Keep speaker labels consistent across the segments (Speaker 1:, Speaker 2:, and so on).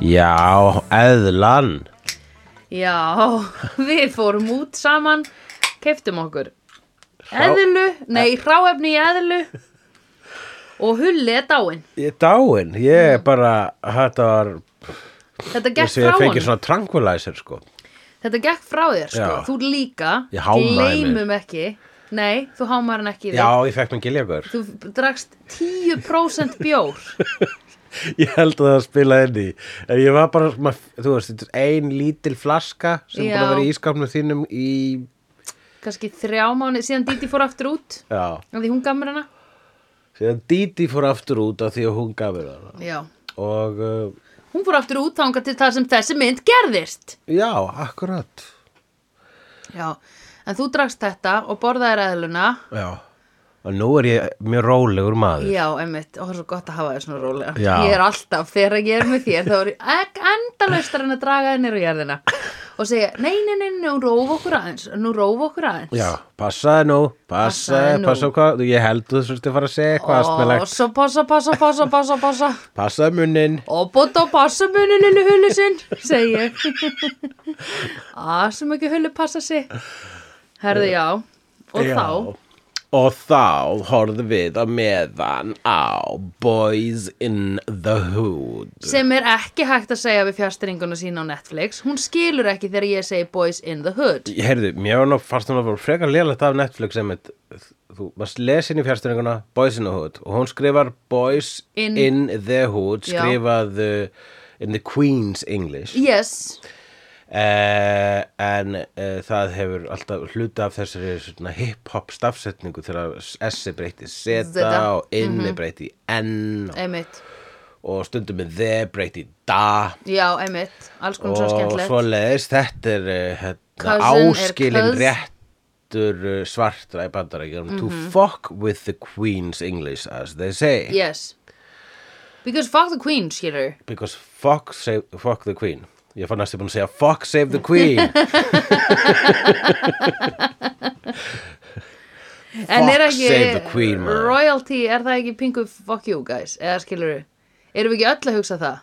Speaker 1: Já, eðlan
Speaker 2: Já, við fórum út saman, keftum okkur eðlu, nei, hráefni í eðlu og hulli er dáin.
Speaker 1: Ég er dáin, ég er bara Þetta var,
Speaker 2: Þetta gekk
Speaker 1: þessi
Speaker 2: frá
Speaker 1: ég fengi
Speaker 2: honum,
Speaker 1: svona tranquilizer sko
Speaker 2: þetta gekk frá þér, sko,
Speaker 1: Já.
Speaker 2: þú líka,
Speaker 1: Ég hámaði mig.
Speaker 2: gleymum ekki, nei, þú hámar hann ekki í þig.
Speaker 1: Já, ég fekk mér giljagur
Speaker 2: Þú drakst 10% bjór.
Speaker 1: Ég held að það spilaði inn í En ég var bara, ma- þú veist, þetta er ein lítil flaska sem
Speaker 2: Já.
Speaker 1: búin að vera í ískapnum þínum í,
Speaker 2: kannski þrjá mánu síðan Díti fór aftur út
Speaker 1: já
Speaker 2: af því hún gaf mér hana
Speaker 1: Síðan Díti fór aftur út af því að hún gaf mér hana
Speaker 2: já.
Speaker 1: Og, uh,
Speaker 2: hún fór aftur út þangað til það sem þessi mynd gerðist
Speaker 1: já, akkurat
Speaker 2: já. en þú drakst þetta og borðaðir eðluna
Speaker 1: Já Og nú er ég mjög rólegur maður
Speaker 2: já, emmitt, og það er svo gott að hafa þér svona rólega
Speaker 1: Já.
Speaker 2: ég er alltaf, þegar ég er með þér þá er ég endalaustar en að draga þér niður á jörðina og segja, nei, nei, nei, nei, nú róf okkur aðeins nú róf okkur aðeins
Speaker 1: Já, passaði nú, passaði,
Speaker 2: Passaðu nú.
Speaker 1: passaði hvað, ég held þú þurfti að fara að segja eitthvað
Speaker 2: og
Speaker 1: astmælegt.
Speaker 2: svo passa, passa, passa, passa, passa
Speaker 1: Passaði munnin,
Speaker 2: og bóta á passamuninu hullu sinn, segi ég að sem ekki hullu passa sig herðu já og
Speaker 1: Já.
Speaker 2: þá
Speaker 1: Og þá horfðum við á meðan á Boys in the Hood.
Speaker 2: sem er ekki hægt að segja við fjastringuna sína á Netflix hún skilur ekki þegar ég segi Boys in the Hood
Speaker 1: Heyrðu, mér var nú fast hún að fara frekar lélegt af Netflix sem eitt, þú varst lesin í fjárstyrninguna Boys in the Hood og hún skrifar Boys in,
Speaker 2: In-
Speaker 1: the Hood,
Speaker 2: Já.
Speaker 1: skrifað uh, in the Queen's English.
Speaker 2: yes,
Speaker 1: Uh, en uh, það hefur alltaf hluta af þessari svona hip-hop stafsetningu þegar S-i breyti seta
Speaker 2: Zeta.
Speaker 1: og inni mm -hmm. breyti N og,
Speaker 2: einmitt
Speaker 1: og stundum með the breyti da
Speaker 2: já, einmitt, alls konar svo
Speaker 1: og
Speaker 2: skemmtilegt
Speaker 1: svo leiðist þetta er uh, hérna,
Speaker 2: Cousin er
Speaker 1: áskilin
Speaker 2: cous-
Speaker 1: réttur uh, svartra í bandarækjum to
Speaker 2: Mhm.
Speaker 1: fuck with the queen's English as they say
Speaker 2: yes because fuck the queen, skilur
Speaker 1: because fuck, save, fuck the queen ég fann næstu búin að segja fuck save the queen
Speaker 2: en er
Speaker 1: Fuck
Speaker 2: ekki
Speaker 1: save the queen, maður.
Speaker 2: royalty, er það ekki pingu fuck you guys, eða skilur erum við ekki öll að hugsa það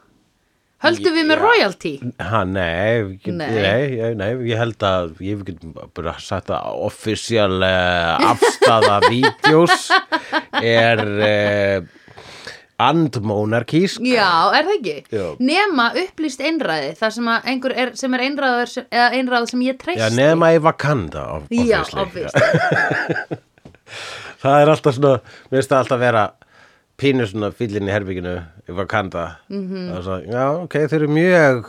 Speaker 2: höldum við með royalty
Speaker 1: Ha, nei, ég,
Speaker 2: Nei.
Speaker 1: nei. Nei, ég- nei, ég held að ég get bara sagt að offisjál uh, afstaða vídeos er uh, andmónarkís
Speaker 2: Já, er það ekki?
Speaker 1: Já.
Speaker 2: Nema upplýst einræði, það sem að einhver er, sem er einræður, sem- eða einræður sem ég treysti.
Speaker 1: Já, nema í Vakanda of,
Speaker 2: Já,
Speaker 1: obviously.
Speaker 2: obviously.
Speaker 1: Það er alltaf svona, mér finnst það alltaf vera pínu svona fíllinn í herbygginu í Vakanda mm
Speaker 2: Mhm.
Speaker 1: -hmm. svo, Já, ok, þeir eru mjög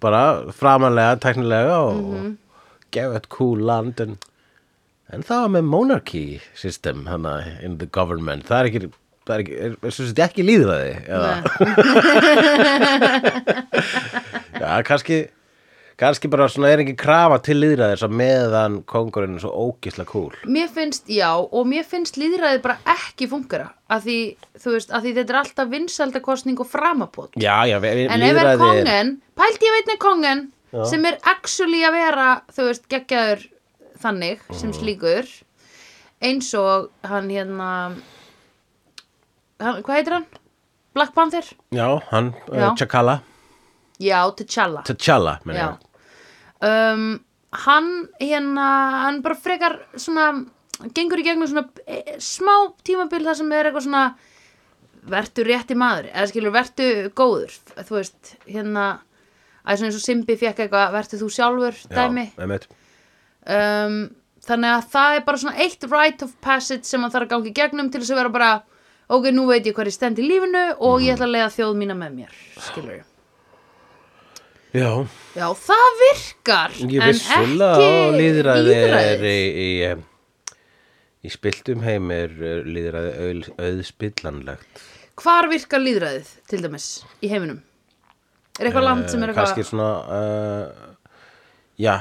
Speaker 1: bara framanlega, tæknilega og mm
Speaker 2: Mhm.
Speaker 1: -hmm. gefa eitt cool land en, en það var með monarchy system hana in the government það er ekki, það er ekki, er, er, er, er ekki líðræði eða, já, kannski kannski bara svona er ekki krafa til líðræði svo meðan kongurinn er svo ógisla cool
Speaker 2: Mér finnst, já, og mér finnst líðræði bara ekki fungara, að því, þú veist, að því þetta er alltaf vinsaldakostning og framabót.
Speaker 1: Já, já, við,
Speaker 2: En ef er kongen, pælt ég veit með kongen, sem er actually að vera, þú veist, geggjaður þannig, sem slíkur, eins og hann hérna, hann, hvað heitir hann? Black Panther?
Speaker 1: Já, hann,
Speaker 2: Já.
Speaker 1: uh, Chakala
Speaker 2: Já, T'Challa.
Speaker 1: T'Challa, meni
Speaker 2: Já.
Speaker 1: ég
Speaker 2: Um, hann hérna, hann bara frekar svona, gengur í gegnum svona e, smá tímabil þar sem er eitthvað svona vertu rétti maður, eða skilur vertu góður, þú veist, hérna að svona eins og Simbi fekk eitthvað vertu þú sjálfur dæmi
Speaker 1: Já, einmitt.
Speaker 2: um, þannig að það er bara svona eitt right of passage sem hann þarf að gangi gegnum til þess að vera bara ok, nú veit ég hvað ég stend í lífinu og ég ætla að leiða þjóð mína með mér skilur
Speaker 1: Já,
Speaker 2: Já, það virkar
Speaker 1: ég
Speaker 2: en
Speaker 1: vissulega og
Speaker 2: ekki
Speaker 1: líðræði er
Speaker 2: lýðræðið.
Speaker 1: í, í, em, í spiltum heim er er líðræði auð, auðspillanlegt
Speaker 2: Hvar virkar líðræðið, til dæmis, í heiminum? Er eitthvað land sem er
Speaker 1: Eh,
Speaker 2: eitthvað
Speaker 1: Kannski svona, uh, já,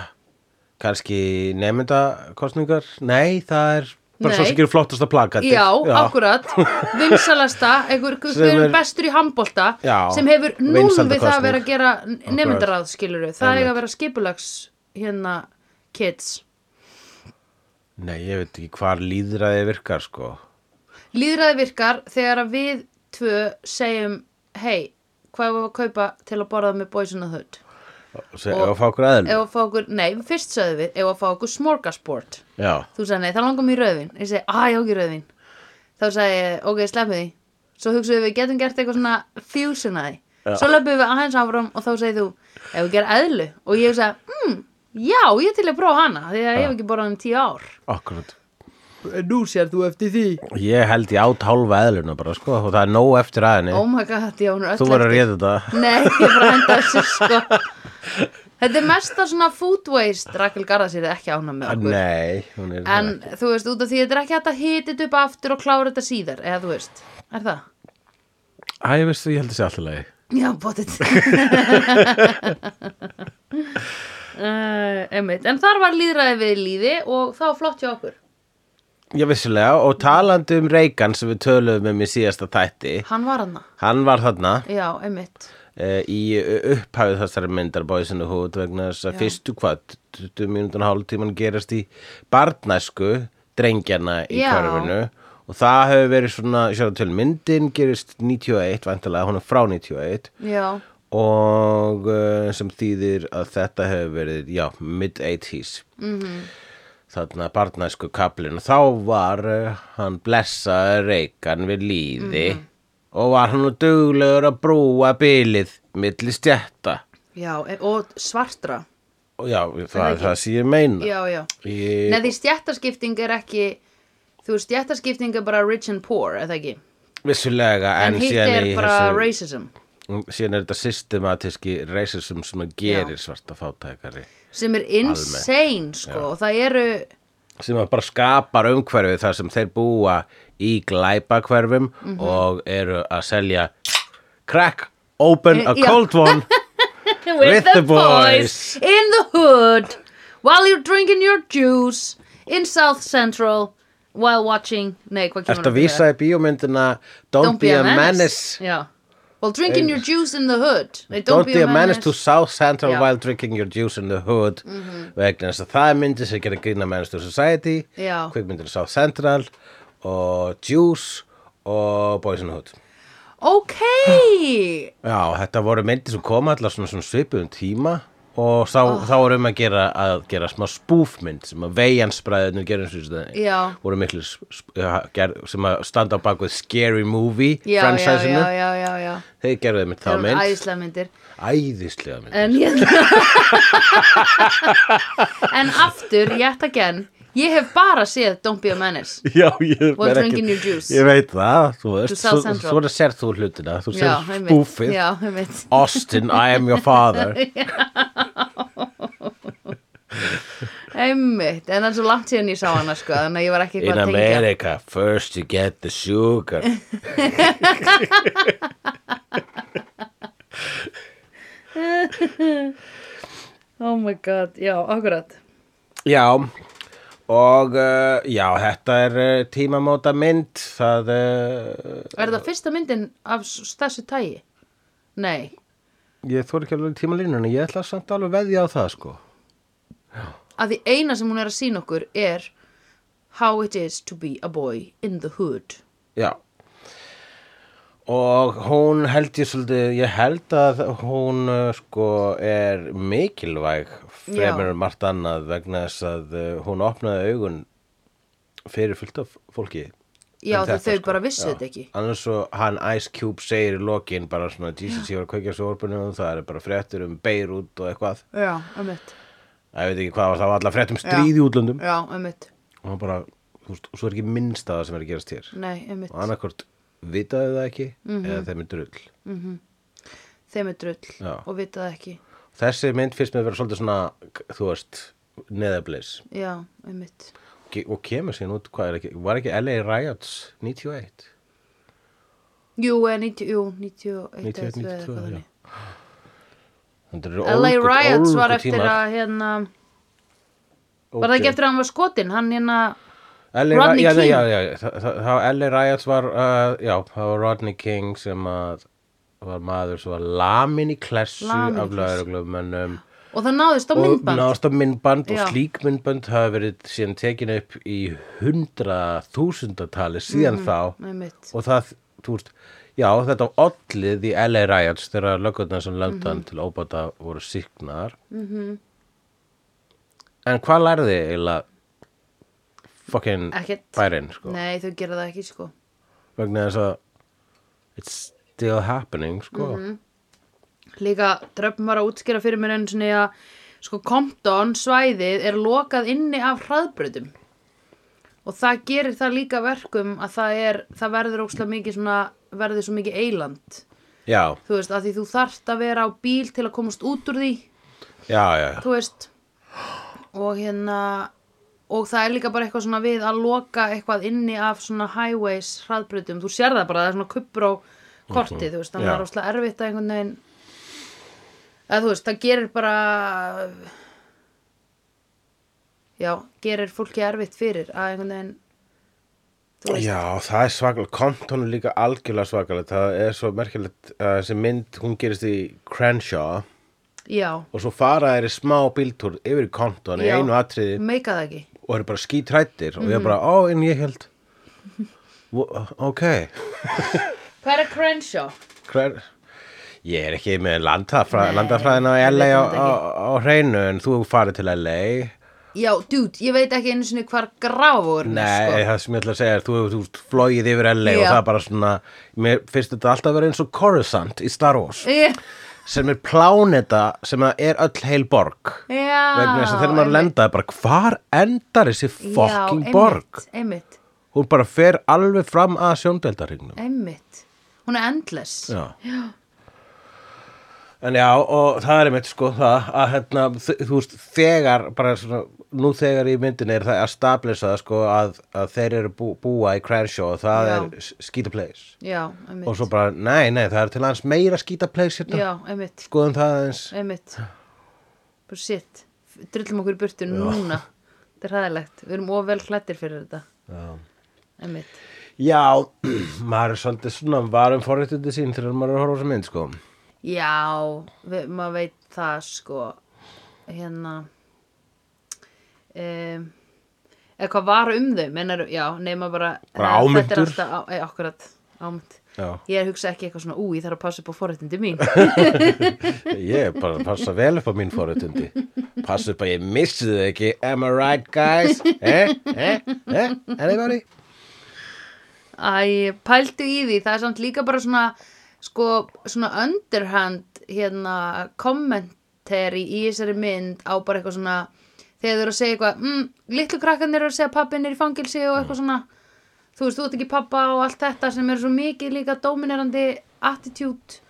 Speaker 1: kannski nefndakostningar Nei, það er bara svo
Speaker 2: Nei.
Speaker 1: sem gerir flottasta plakatið
Speaker 2: Já, akkurat, vinsalasta einhver,
Speaker 1: Sem
Speaker 2: einhver
Speaker 1: er-
Speaker 2: bestur í handbolta
Speaker 1: Já,
Speaker 2: sem hefur núl við það að
Speaker 1: vinsældakosning.
Speaker 2: vera að gera nefndaráð skiluru, það eiga að vera skipulags hérna kids
Speaker 1: Nei, ég veit ekki hvar líðræði virkar, sko
Speaker 2: Líðræði virkar þegar að við tvö segjum, hei, hvað við að kaupa til að borða með Boys in the Hood
Speaker 1: Se,
Speaker 2: Og-
Speaker 1: og fá okkur aðeins
Speaker 2: ef að fá okkur, nei, fyrst sögðum við ef að fá okkur smorgasbord
Speaker 1: já,
Speaker 2: þú sagði, nei, það langar mér í rauðvin ég segi, að ég á ekki rauðvin þá sagði ég, ok, sleppum því svo hugsaðum við, getum gert eitthvað svona fusion að því,
Speaker 1: Já.
Speaker 2: svo löpum við aðeins áfram og þá segir þú, ef við gerum eðlu og ég sagði, mm, já, ég er til að prófa hana því að ég hef ekki borðað um tíu ár
Speaker 1: akkurat
Speaker 2: nú sér þú eftir því
Speaker 1: ég held ég át hálfa eðluna bara sko og það er nóg eftir aðinni
Speaker 2: oh my god, já, hún er öll
Speaker 1: þú verður að
Speaker 2: eftir.
Speaker 1: réða þetta
Speaker 2: Nei, ég bara henda þessu sko Þetta er mesta svona food waste Rakel Garðas er ekki ána með okkur
Speaker 1: nei, hún er
Speaker 2: En þú veist, út af því þetta er ekki hægt að hita þetta upp aftur og klára þetta síðar Eða þú veist, er það?
Speaker 1: Æ, ég veist, ég held þessi alltaf leið
Speaker 2: Já, bóttið uh, Einmitt, en þar var líðræði við líði og það var flott hjá okkur
Speaker 1: Já, vissulega, og talandi um Reagan sem við töluðum um í síðasta tætti
Speaker 2: Hann var hana,
Speaker 1: Hann var þarna
Speaker 2: já, einmitt
Speaker 1: e, í upphæðu þessari myndar bóðisinu hút vegna þess að fyrstu hvað 20 mínútur og hálftíman gerast í barnæsku drengjana í
Speaker 2: Já.
Speaker 1: hverfinu og það hefur verið svona, sjá til myndin gerist 91 vantilega, hún er frá 91
Speaker 2: Já,
Speaker 1: og uh, sem þýðir að þetta hefur verið, já, mid-80s mm
Speaker 2: Mhm.
Speaker 1: -hmm. þarna barnæsku kaplin og þá var uh, hann blessaði reikan við líði
Speaker 2: Mhm.
Speaker 1: og var hann nú duglegur að brúa bilið milli stjætta
Speaker 2: já, e- og svartra
Speaker 1: og já, það er það sem ég meina
Speaker 2: Já, já
Speaker 1: Ég,
Speaker 2: Nei, því stjættaskipting er ekki þú veist, stjættaskipting er bara rich and poor, eða ekki
Speaker 1: vissulega
Speaker 2: en,
Speaker 1: en,
Speaker 2: hitt
Speaker 1: síðan
Speaker 2: er
Speaker 1: í
Speaker 2: bara
Speaker 1: þessu-
Speaker 2: racism
Speaker 1: síðan er þetta systematíski racism sem að gerir svarta fátækari
Speaker 2: sem er insane, sko, og það eru
Speaker 1: sem að bara skapar umhverfið þar sem þeir búa í glæpakverfum og eru að selja crack, open a
Speaker 2: Já.
Speaker 1: cold one With the boys.
Speaker 2: in the hood while you're drinking your juice in South Central while watching, nei, hvað kemur
Speaker 1: Ertu að vísa í bíómyndina Don't, be a menace
Speaker 2: Já, while drinking your juice in the hood nei,
Speaker 1: Don't be a menace to South Central
Speaker 2: Já.
Speaker 1: while drinking your juice in the hood vegna þess að það er myndi sem gerir grína menace to society
Speaker 2: Já.
Speaker 1: kvikmyndin South Central og Juice og Boys in the Hood
Speaker 2: Ok,
Speaker 1: Já, þetta voru myndir sem koma allar svona, svona svipuðum tíma og þá,
Speaker 2: Ah.
Speaker 1: þá voru um að gera, að gera smá spúfmynd sem að veijansbræðinu gerum svo þetta
Speaker 2: Já.
Speaker 1: voru miklu sp- sp- ja, ger- sem að standa á bak við Scary Movie
Speaker 2: já, já,
Speaker 1: franchise-inu
Speaker 2: já, já, já, já.
Speaker 1: þeir gerðu einmitt þá
Speaker 2: Það eru
Speaker 1: mynd
Speaker 2: æðislega Eh, myndir
Speaker 1: æðislega mynd
Speaker 2: En ég En aftur, yet again Ég hef bara séð Don't be a menace
Speaker 1: Já, ég,
Speaker 2: While
Speaker 1: er
Speaker 2: drinking your juice.
Speaker 1: ég veit það, þú veist,
Speaker 2: To
Speaker 1: svo-
Speaker 2: South Central.
Speaker 1: svona sér þú hlutina, þú
Speaker 2: Já,
Speaker 1: sér
Speaker 2: einmitt.
Speaker 1: spúfið,
Speaker 2: Já, einmitt
Speaker 1: Austin, I am your father,
Speaker 2: Einmitt, en það er svo langt síðan ég sá hana sko Þannig að ég var ekki
Speaker 1: in
Speaker 2: eitthvað að tengja
Speaker 1: America, first you get the sugar.
Speaker 2: Oh my god, já, akkurat
Speaker 1: Já, og uh, já, þetta er uh, tímamóta mynd, það uh,
Speaker 2: Er það fyrsta myndin af s- þessu tægi? Nei,
Speaker 1: ég þóri ekki alveg tímalínuna, ég ætla samt alveg að veðja á það, sko.
Speaker 2: að því eina sem hún er að sína okkur er How it is to be a boy in the hood
Speaker 1: Já. Og hún held ég svolítið, ég held að hún uh, sko er mikilvæg fremur
Speaker 2: Já.
Speaker 1: en margt annað vegna þess að uh, hún opnaði augun fyrir fullt af fólki.
Speaker 2: Já,
Speaker 1: um
Speaker 2: þau-
Speaker 1: þetta,
Speaker 2: þau bara vissu þetta ekki.
Speaker 1: Annars svo hann Ice Cube segir í lokin bara svona, Jesus, ég var að kveikja svo orpunum og það er bara fréttur um Beirut og eitthvað.
Speaker 2: Já, einmitt
Speaker 1: Æ, Ég veit ekki hvað var, það var allar frétt um stríð í útlöndum.
Speaker 2: Já, einmitt,
Speaker 1: Og hann bara, þú veist, og svo er ekki minnst að það sem er að gerast hér.
Speaker 2: nei, einmitt
Speaker 1: Og annarkvort vitaði það ekki
Speaker 2: Mhm.
Speaker 1: eða þeim er drull.
Speaker 2: þeim er drull
Speaker 1: Já.
Speaker 2: og vita það ekki
Speaker 1: Þessi mynd fyrst með að vera svolítið svona, þú veist, neðablis
Speaker 2: já, einmitt
Speaker 1: Ge- og kemur síðan út, hvað er ekki, var ekki LA Riots 91?
Speaker 2: jú, eh, 90, jú, 91
Speaker 1: 91,
Speaker 2: eða eitthvað
Speaker 1: 92, já.
Speaker 2: þannig.
Speaker 1: Þetta eru
Speaker 2: LA
Speaker 1: ólgu-
Speaker 2: Riots var
Speaker 1: ólgu
Speaker 2: eftir
Speaker 1: tímar.
Speaker 2: að hérna, var það
Speaker 1: Ógeð.
Speaker 2: ekki eftir að hann var skotin hann hérna,
Speaker 1: LA
Speaker 2: Rodney
Speaker 1: Rodney King
Speaker 2: King?
Speaker 1: já, já, já, það, það, það, LA Riots var, uh, já, það var Rodney King sem að var maður sem var lamin í klessu
Speaker 2: Laminn í
Speaker 1: af
Speaker 2: klessu.
Speaker 1: lögreglumönnum
Speaker 2: og það náðist á
Speaker 1: og
Speaker 2: myndband
Speaker 1: náðast á myndband
Speaker 2: Já.
Speaker 1: og slík myndband hafa verið síðan tekin upp í hundra þúsundatali síðan þá
Speaker 2: Mhm, einmitt,
Speaker 1: og það, þú veist, já, þetta olli því LA Riots þegar löggurnar sem löndan
Speaker 2: Mhm.
Speaker 1: til óbata voru síknaðar -hmm. en hvað lærði eiginlega fucking
Speaker 2: Ekkert.
Speaker 1: bærin sko?
Speaker 2: Nei, þau gera það ekki sko
Speaker 1: vegna þess að it's still happening sko.
Speaker 2: Mhm. Líka dröfn var að útskýra fyrir mér einu sinni að sko Compton svæðið er lokað inni af hraðbröðum og það gerir það líka verkum að það, er, það verður ókslega mikið svona verður svo mikið eiland
Speaker 1: já,
Speaker 2: þú veist, að því þú þarft að vera á bíl til að komast út úr því
Speaker 1: já, já
Speaker 2: þú veist og hérna og það er líka bara eitthvað svona við að loka eitthvað inni af svona highways hraðbrutum, þú sér það bara, það er svona kuppur á kortið, þú veist, þannig
Speaker 1: Mhm. Já.
Speaker 2: að það er óslega erfitt að einhvern veginn eða þú veist, það gerir bara já, gerir fólki erfitt fyrir að einhvern veginn þú veist,
Speaker 1: Já, það er svakalega, kontónu líka algjörlega svakalega, það er svo merkilegt uh, þessi mynd, hún gerist í Crenshaw
Speaker 2: já,
Speaker 1: og svo fara þeir í smá bíltúr yfir í kontón í
Speaker 2: Já. Mhm.
Speaker 1: einu atriði
Speaker 2: meika það ekki
Speaker 1: og eru bara skítrættir og ég er bara, ó, en ég held Wo- ok
Speaker 2: Hvað er að Crenshaw?
Speaker 1: hver ég er ekki með landafræ,
Speaker 2: Nei,
Speaker 1: landafræðina
Speaker 2: ég
Speaker 1: í LA
Speaker 2: veit
Speaker 1: á,
Speaker 2: þetta
Speaker 1: á, á hreinu en þú hefur farið til LA
Speaker 2: Já, dude, ég veit ekki einu sinni hvar grafur
Speaker 1: Nei, það sem ég ætla að segja er þú hefur þú ert flogið yfir LA og
Speaker 2: Sko. Já.
Speaker 1: það er bara svona mér finnst þetta alltaf að vera eins og Coruscant í Star Wars
Speaker 2: Ég,
Speaker 1: sem er pláneta sem að er öll heil borg
Speaker 2: já
Speaker 1: vegna þess að þegar maður
Speaker 2: einmitt.
Speaker 1: lendaði bara hvar endar þessi
Speaker 2: Já,
Speaker 1: fucking
Speaker 2: einmitt,
Speaker 1: borg
Speaker 2: einmitt,
Speaker 1: hún bara fer alveg fram að sjóndeldaringnum
Speaker 2: einmitt hún er endless
Speaker 1: já. en já og það er einmitt sko það að hérna, þ- þú veist þegar bara svona, nú þegar í myndinni er það að stablisa það sko að, að þeir eru bú, búa í Crenshaw og það
Speaker 2: Já.
Speaker 1: er skýta place
Speaker 2: já, einmitt,
Speaker 1: og svo bara nei nei það er til hans meira skýta place hérna
Speaker 2: já, einmitt,
Speaker 1: skoðum það eins
Speaker 2: einmitt bara shit, drullum okkur í burtu núna, þetta er hæðilegt við erum of vel hlættir fyrir þetta
Speaker 1: já.
Speaker 2: einmitt,
Speaker 1: já maður er svolítið svona varum forréttindi sín þegar maður er að horfa á þessa mynd sko
Speaker 2: já við, maður veit það sko hérna um, eða hvað var um þau menar, já, nema bara
Speaker 1: Bara
Speaker 2: Eh, þetta er
Speaker 1: áminntur.
Speaker 2: alltaf á- eh, akkurat, ámynd
Speaker 1: já.
Speaker 2: ég er að hugsa ekki eitthvað svona, ú, ég þarf að passa upp á forréttindi mín
Speaker 1: Ég er bara að passa vel upp á mín forutindi Passa upp að ég missi þau ekki Am I right guys? Eh? Eh? Eh? Anybody?
Speaker 2: Æ, pæltu í því, það er samt líka bara svona, sko, svona underhand, hérna, kommentari í þessari mynd á bara eitthvað svona, þegar þau eru að segja eitthvað, mm, litlu krakkarnir eru að segja pappin er í fangilsi og eitthvað svona, þú veist, þú ert ekki pappa og allt þetta sem er svo mikið líka dominerandi attitude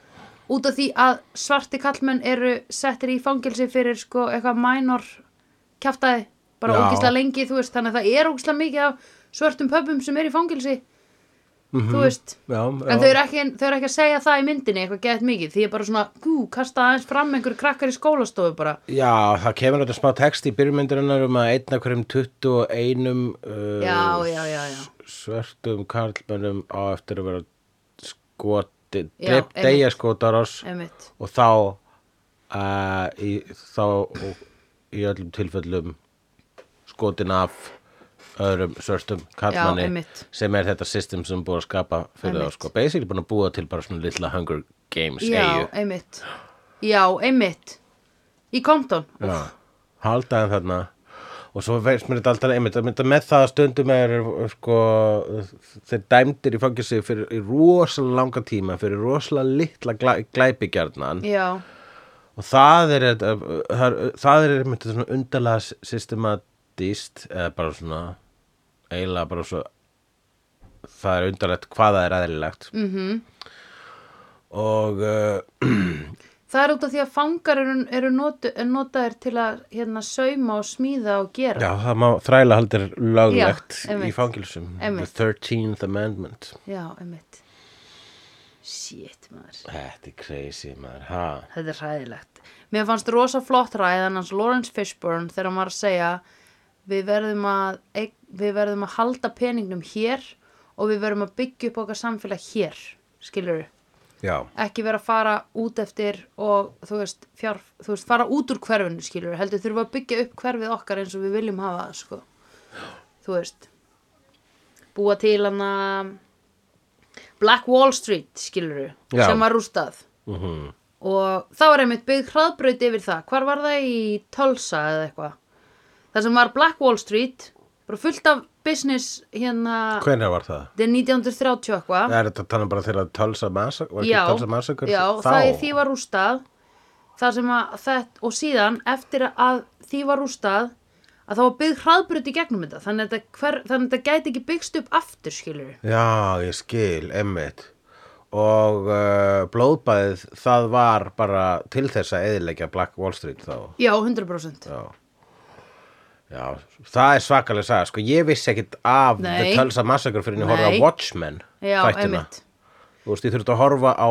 Speaker 2: út af því að svarti kallmenn eru settir í fangilsi fyrir, sko, eitthvað minor kjaftaði, bara
Speaker 1: Já.
Speaker 2: ógislega lengi, þú veist, þannig að það er ógislega mikið af svörtum pöpum sem er í fangilsi þú veist
Speaker 1: Mhm. Já,
Speaker 2: en þau eru, ekki, þau eru ekki að segja það í myndinni eitthvað gett mikið, því ég bara svona gú, kasta aðeins fram einhver krakkar í skólastofu bara
Speaker 1: Já, það kemur þetta smá text í byrjumyndurinnar um að einn af hverjum 21 uh,
Speaker 2: Já, já, já, já.
Speaker 1: svörtum karlmönnum á eftir að vera skoti
Speaker 2: Já,
Speaker 1: dreip
Speaker 2: einmitt.
Speaker 1: degja skotarás
Speaker 2: einmitt,
Speaker 1: og þá uh, í, þá og, í öllum tilfellum skotin af öðrum svörstum
Speaker 2: Já,
Speaker 1: kallmanni
Speaker 2: einmitt.
Speaker 1: sem er þetta system sem búið að skapa fyrir
Speaker 2: Einmitt.
Speaker 1: þá sko, basically búin að búa til bara svona litla Hunger Games
Speaker 2: já,
Speaker 1: eyju.
Speaker 2: einmitt já, einmitt í Compton,
Speaker 1: já, haldaðan þarna og svo veist mér þetta alltaf einmitt að mynda með það að stundum er sko, þeir dæmdir í fangilsi fyrir í rosalega langa tíma fyrir rosalega litla glæ, glæpigjarnan
Speaker 2: já
Speaker 1: og það er þetta- það er- það er einmitt svona undarlega s- systematist eða bara svona eiginlega bara svo það er undarlegt hvað það er aðrilegt mm -hmm.
Speaker 2: Mhm.
Speaker 1: og uh,
Speaker 2: það er út af því að fangar eru, eru notu, er notaðir til að hérna sauma og smíða og gera
Speaker 1: já, það má þræla haldir löglegt
Speaker 2: Já, einmitt.
Speaker 1: í fangilsum
Speaker 2: Einmitt.
Speaker 1: the 13th amendment
Speaker 2: já einmitt shit maður
Speaker 1: þetta er crazy maður ha.
Speaker 2: þetta er hræðilegt mér fannst rosa flott ræðan hans Lawrence Fishburne þegar hann var að segja við verðum að, eig- við verðum að halda peningnum hér og við verðum að byggja upp okkar samfélag hér skilur
Speaker 1: já,
Speaker 2: ekki vera að fara út eftir og þú veist, fjár, þú veist fara út úr hverfinu skilur heldur þurfum við að byggja upp hverfið okkar eins og við viljum hafa það sko. þú veist búa til hana Black Wall Street, skilur
Speaker 1: Já.
Speaker 2: sem var rústað og þá var einmitt byggð hraðbraut yfir það hvar var það í Tulsa eða eitthvað það sem var Black Wall Street bara fullt af business hérna,
Speaker 1: Hvenær var það?
Speaker 2: þetta er 1930 eitthvað
Speaker 1: Er þetta tannum bara þegar Tulsa Massacre? Var ekki
Speaker 2: já,
Speaker 1: Tulsa Massacre?
Speaker 2: já
Speaker 1: þá?
Speaker 2: það er því var rústað þar sem að þetta og síðan eftir að því var rústað að það var byggð hraðbrut í gegnum þetta þannig að þetta, hver, þannig að þetta gæti ekki byggst upp aftur skilur
Speaker 1: Já, ég skil, emmitt. Og uh, blóðbæðið, það var bara til þess að eðilegja Black Wall Street þá.
Speaker 2: já 100%
Speaker 1: Já. Já, það er svakalega saga. Sko, ég vissi ekkit af
Speaker 2: Nei.
Speaker 1: The Tulsa Massacre fyrir en ég horfði
Speaker 2: Nei.
Speaker 1: á Watchmen
Speaker 2: já,
Speaker 1: þættina.
Speaker 2: einmitt
Speaker 1: Þú veist, ég þurfti að horfa á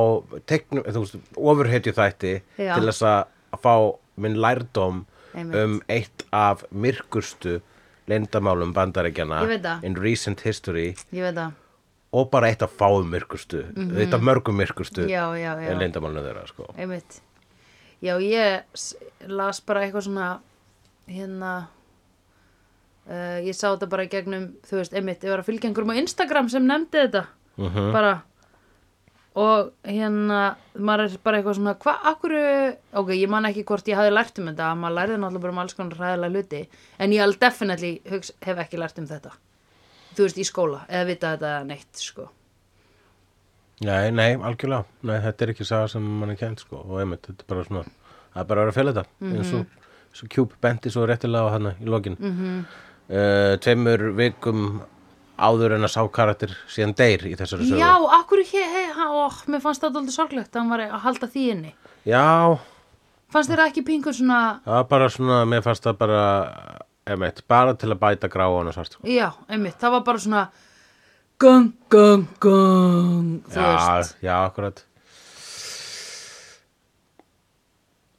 Speaker 1: teiknum, þú veist, ofurhetju þætti
Speaker 2: Já.
Speaker 1: til þess að að fá minn lærdóm
Speaker 2: Einmitt.
Speaker 1: um eitt af myrkustu leyndamálum bandaríkjana
Speaker 2: Ég veit það.
Speaker 1: in recent history
Speaker 2: ég veit það
Speaker 1: og bara eitt af fáum myrkustu eitt af mörgum myrkustu
Speaker 2: Mhm. Já, já, já.
Speaker 1: en leyndamálunum þeirra sko.
Speaker 2: einmitt já ég s- las bara eitthvað svona hérna uh, ég sá þetta bara í gegnum þú veist einmitt, ég var að fylgja einhverjum á Instagram sem nefndi þetta bara og hérna maður er bara eitthvað svona hvað, akkur, ok, ég man ekki hvort ég hafi lært um þetta, maður lærði náttúrulega bara um alls konar ræðilega hluti, en ég alveg definitely hugs, hef ekki lært um þetta þú veist, í skóla, eða vita þetta eða neitt sko,
Speaker 1: nei, nei, algjörlega nei, þetta er ekki saga sem mann er kent sko. og einmitt, þetta er bara svona það er bara að vera að fela þetta
Speaker 2: Mhm.
Speaker 1: eins og svo Cube bendi svo réttilega á hana í lokin mm
Speaker 2: Mhm.
Speaker 1: -hmm. tveimur vikum áður en að sá karakter síðan deyr í þessari sögu
Speaker 2: Já, akkur ekki, hei, hei, ó, mér fannst það aldrei sorglegt að hann var að halda því inni.
Speaker 1: Já,
Speaker 2: Fannst þér ekki pingur svona,
Speaker 1: það var bara svona mér fannst það bara, einmitt, bara til að bæta grá á hana svart sko.
Speaker 2: já, einmitt, það var bara svona gung, gung, gung, þú
Speaker 1: já,
Speaker 2: veist.
Speaker 1: já, akkurat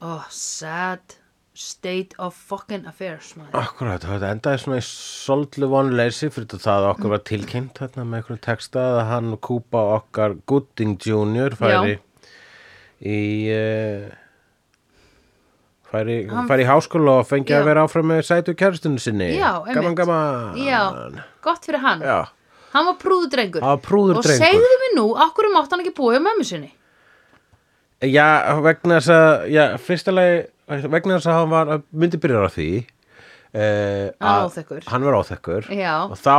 Speaker 2: Ó, sad state of fucking affairs, maður.
Speaker 1: Akkurat, þetta endaði svona í soldlu vonleysi fyrir þetta það að okkur var tilkynnt þarna með einhverjum texta að hann og Kúpa okkar Gooding Jr. færi
Speaker 2: Já.
Speaker 1: í uh, færi,
Speaker 2: Hann-
Speaker 1: færi í háskóla og fengi
Speaker 2: Já.
Speaker 1: að vera áfram með sætu kæristinu sinni
Speaker 2: Já, einmitt.
Speaker 1: Gaman, gaman
Speaker 2: Já, gott fyrir hann.
Speaker 1: Já.
Speaker 2: Hann var prúðudrengur.
Speaker 1: Hann var prúður
Speaker 2: Og
Speaker 1: drengur.
Speaker 2: segðu mér nú, akkur mátt hann ekki búið með mömmu sinni?
Speaker 1: Já, vegna þess að, já, fyrsta lagi, vegna þess að hann var, myndi byrjar á því uh,
Speaker 2: Hann var óþekkur.
Speaker 1: Hann var óþekkur.
Speaker 2: Já.
Speaker 1: Og þá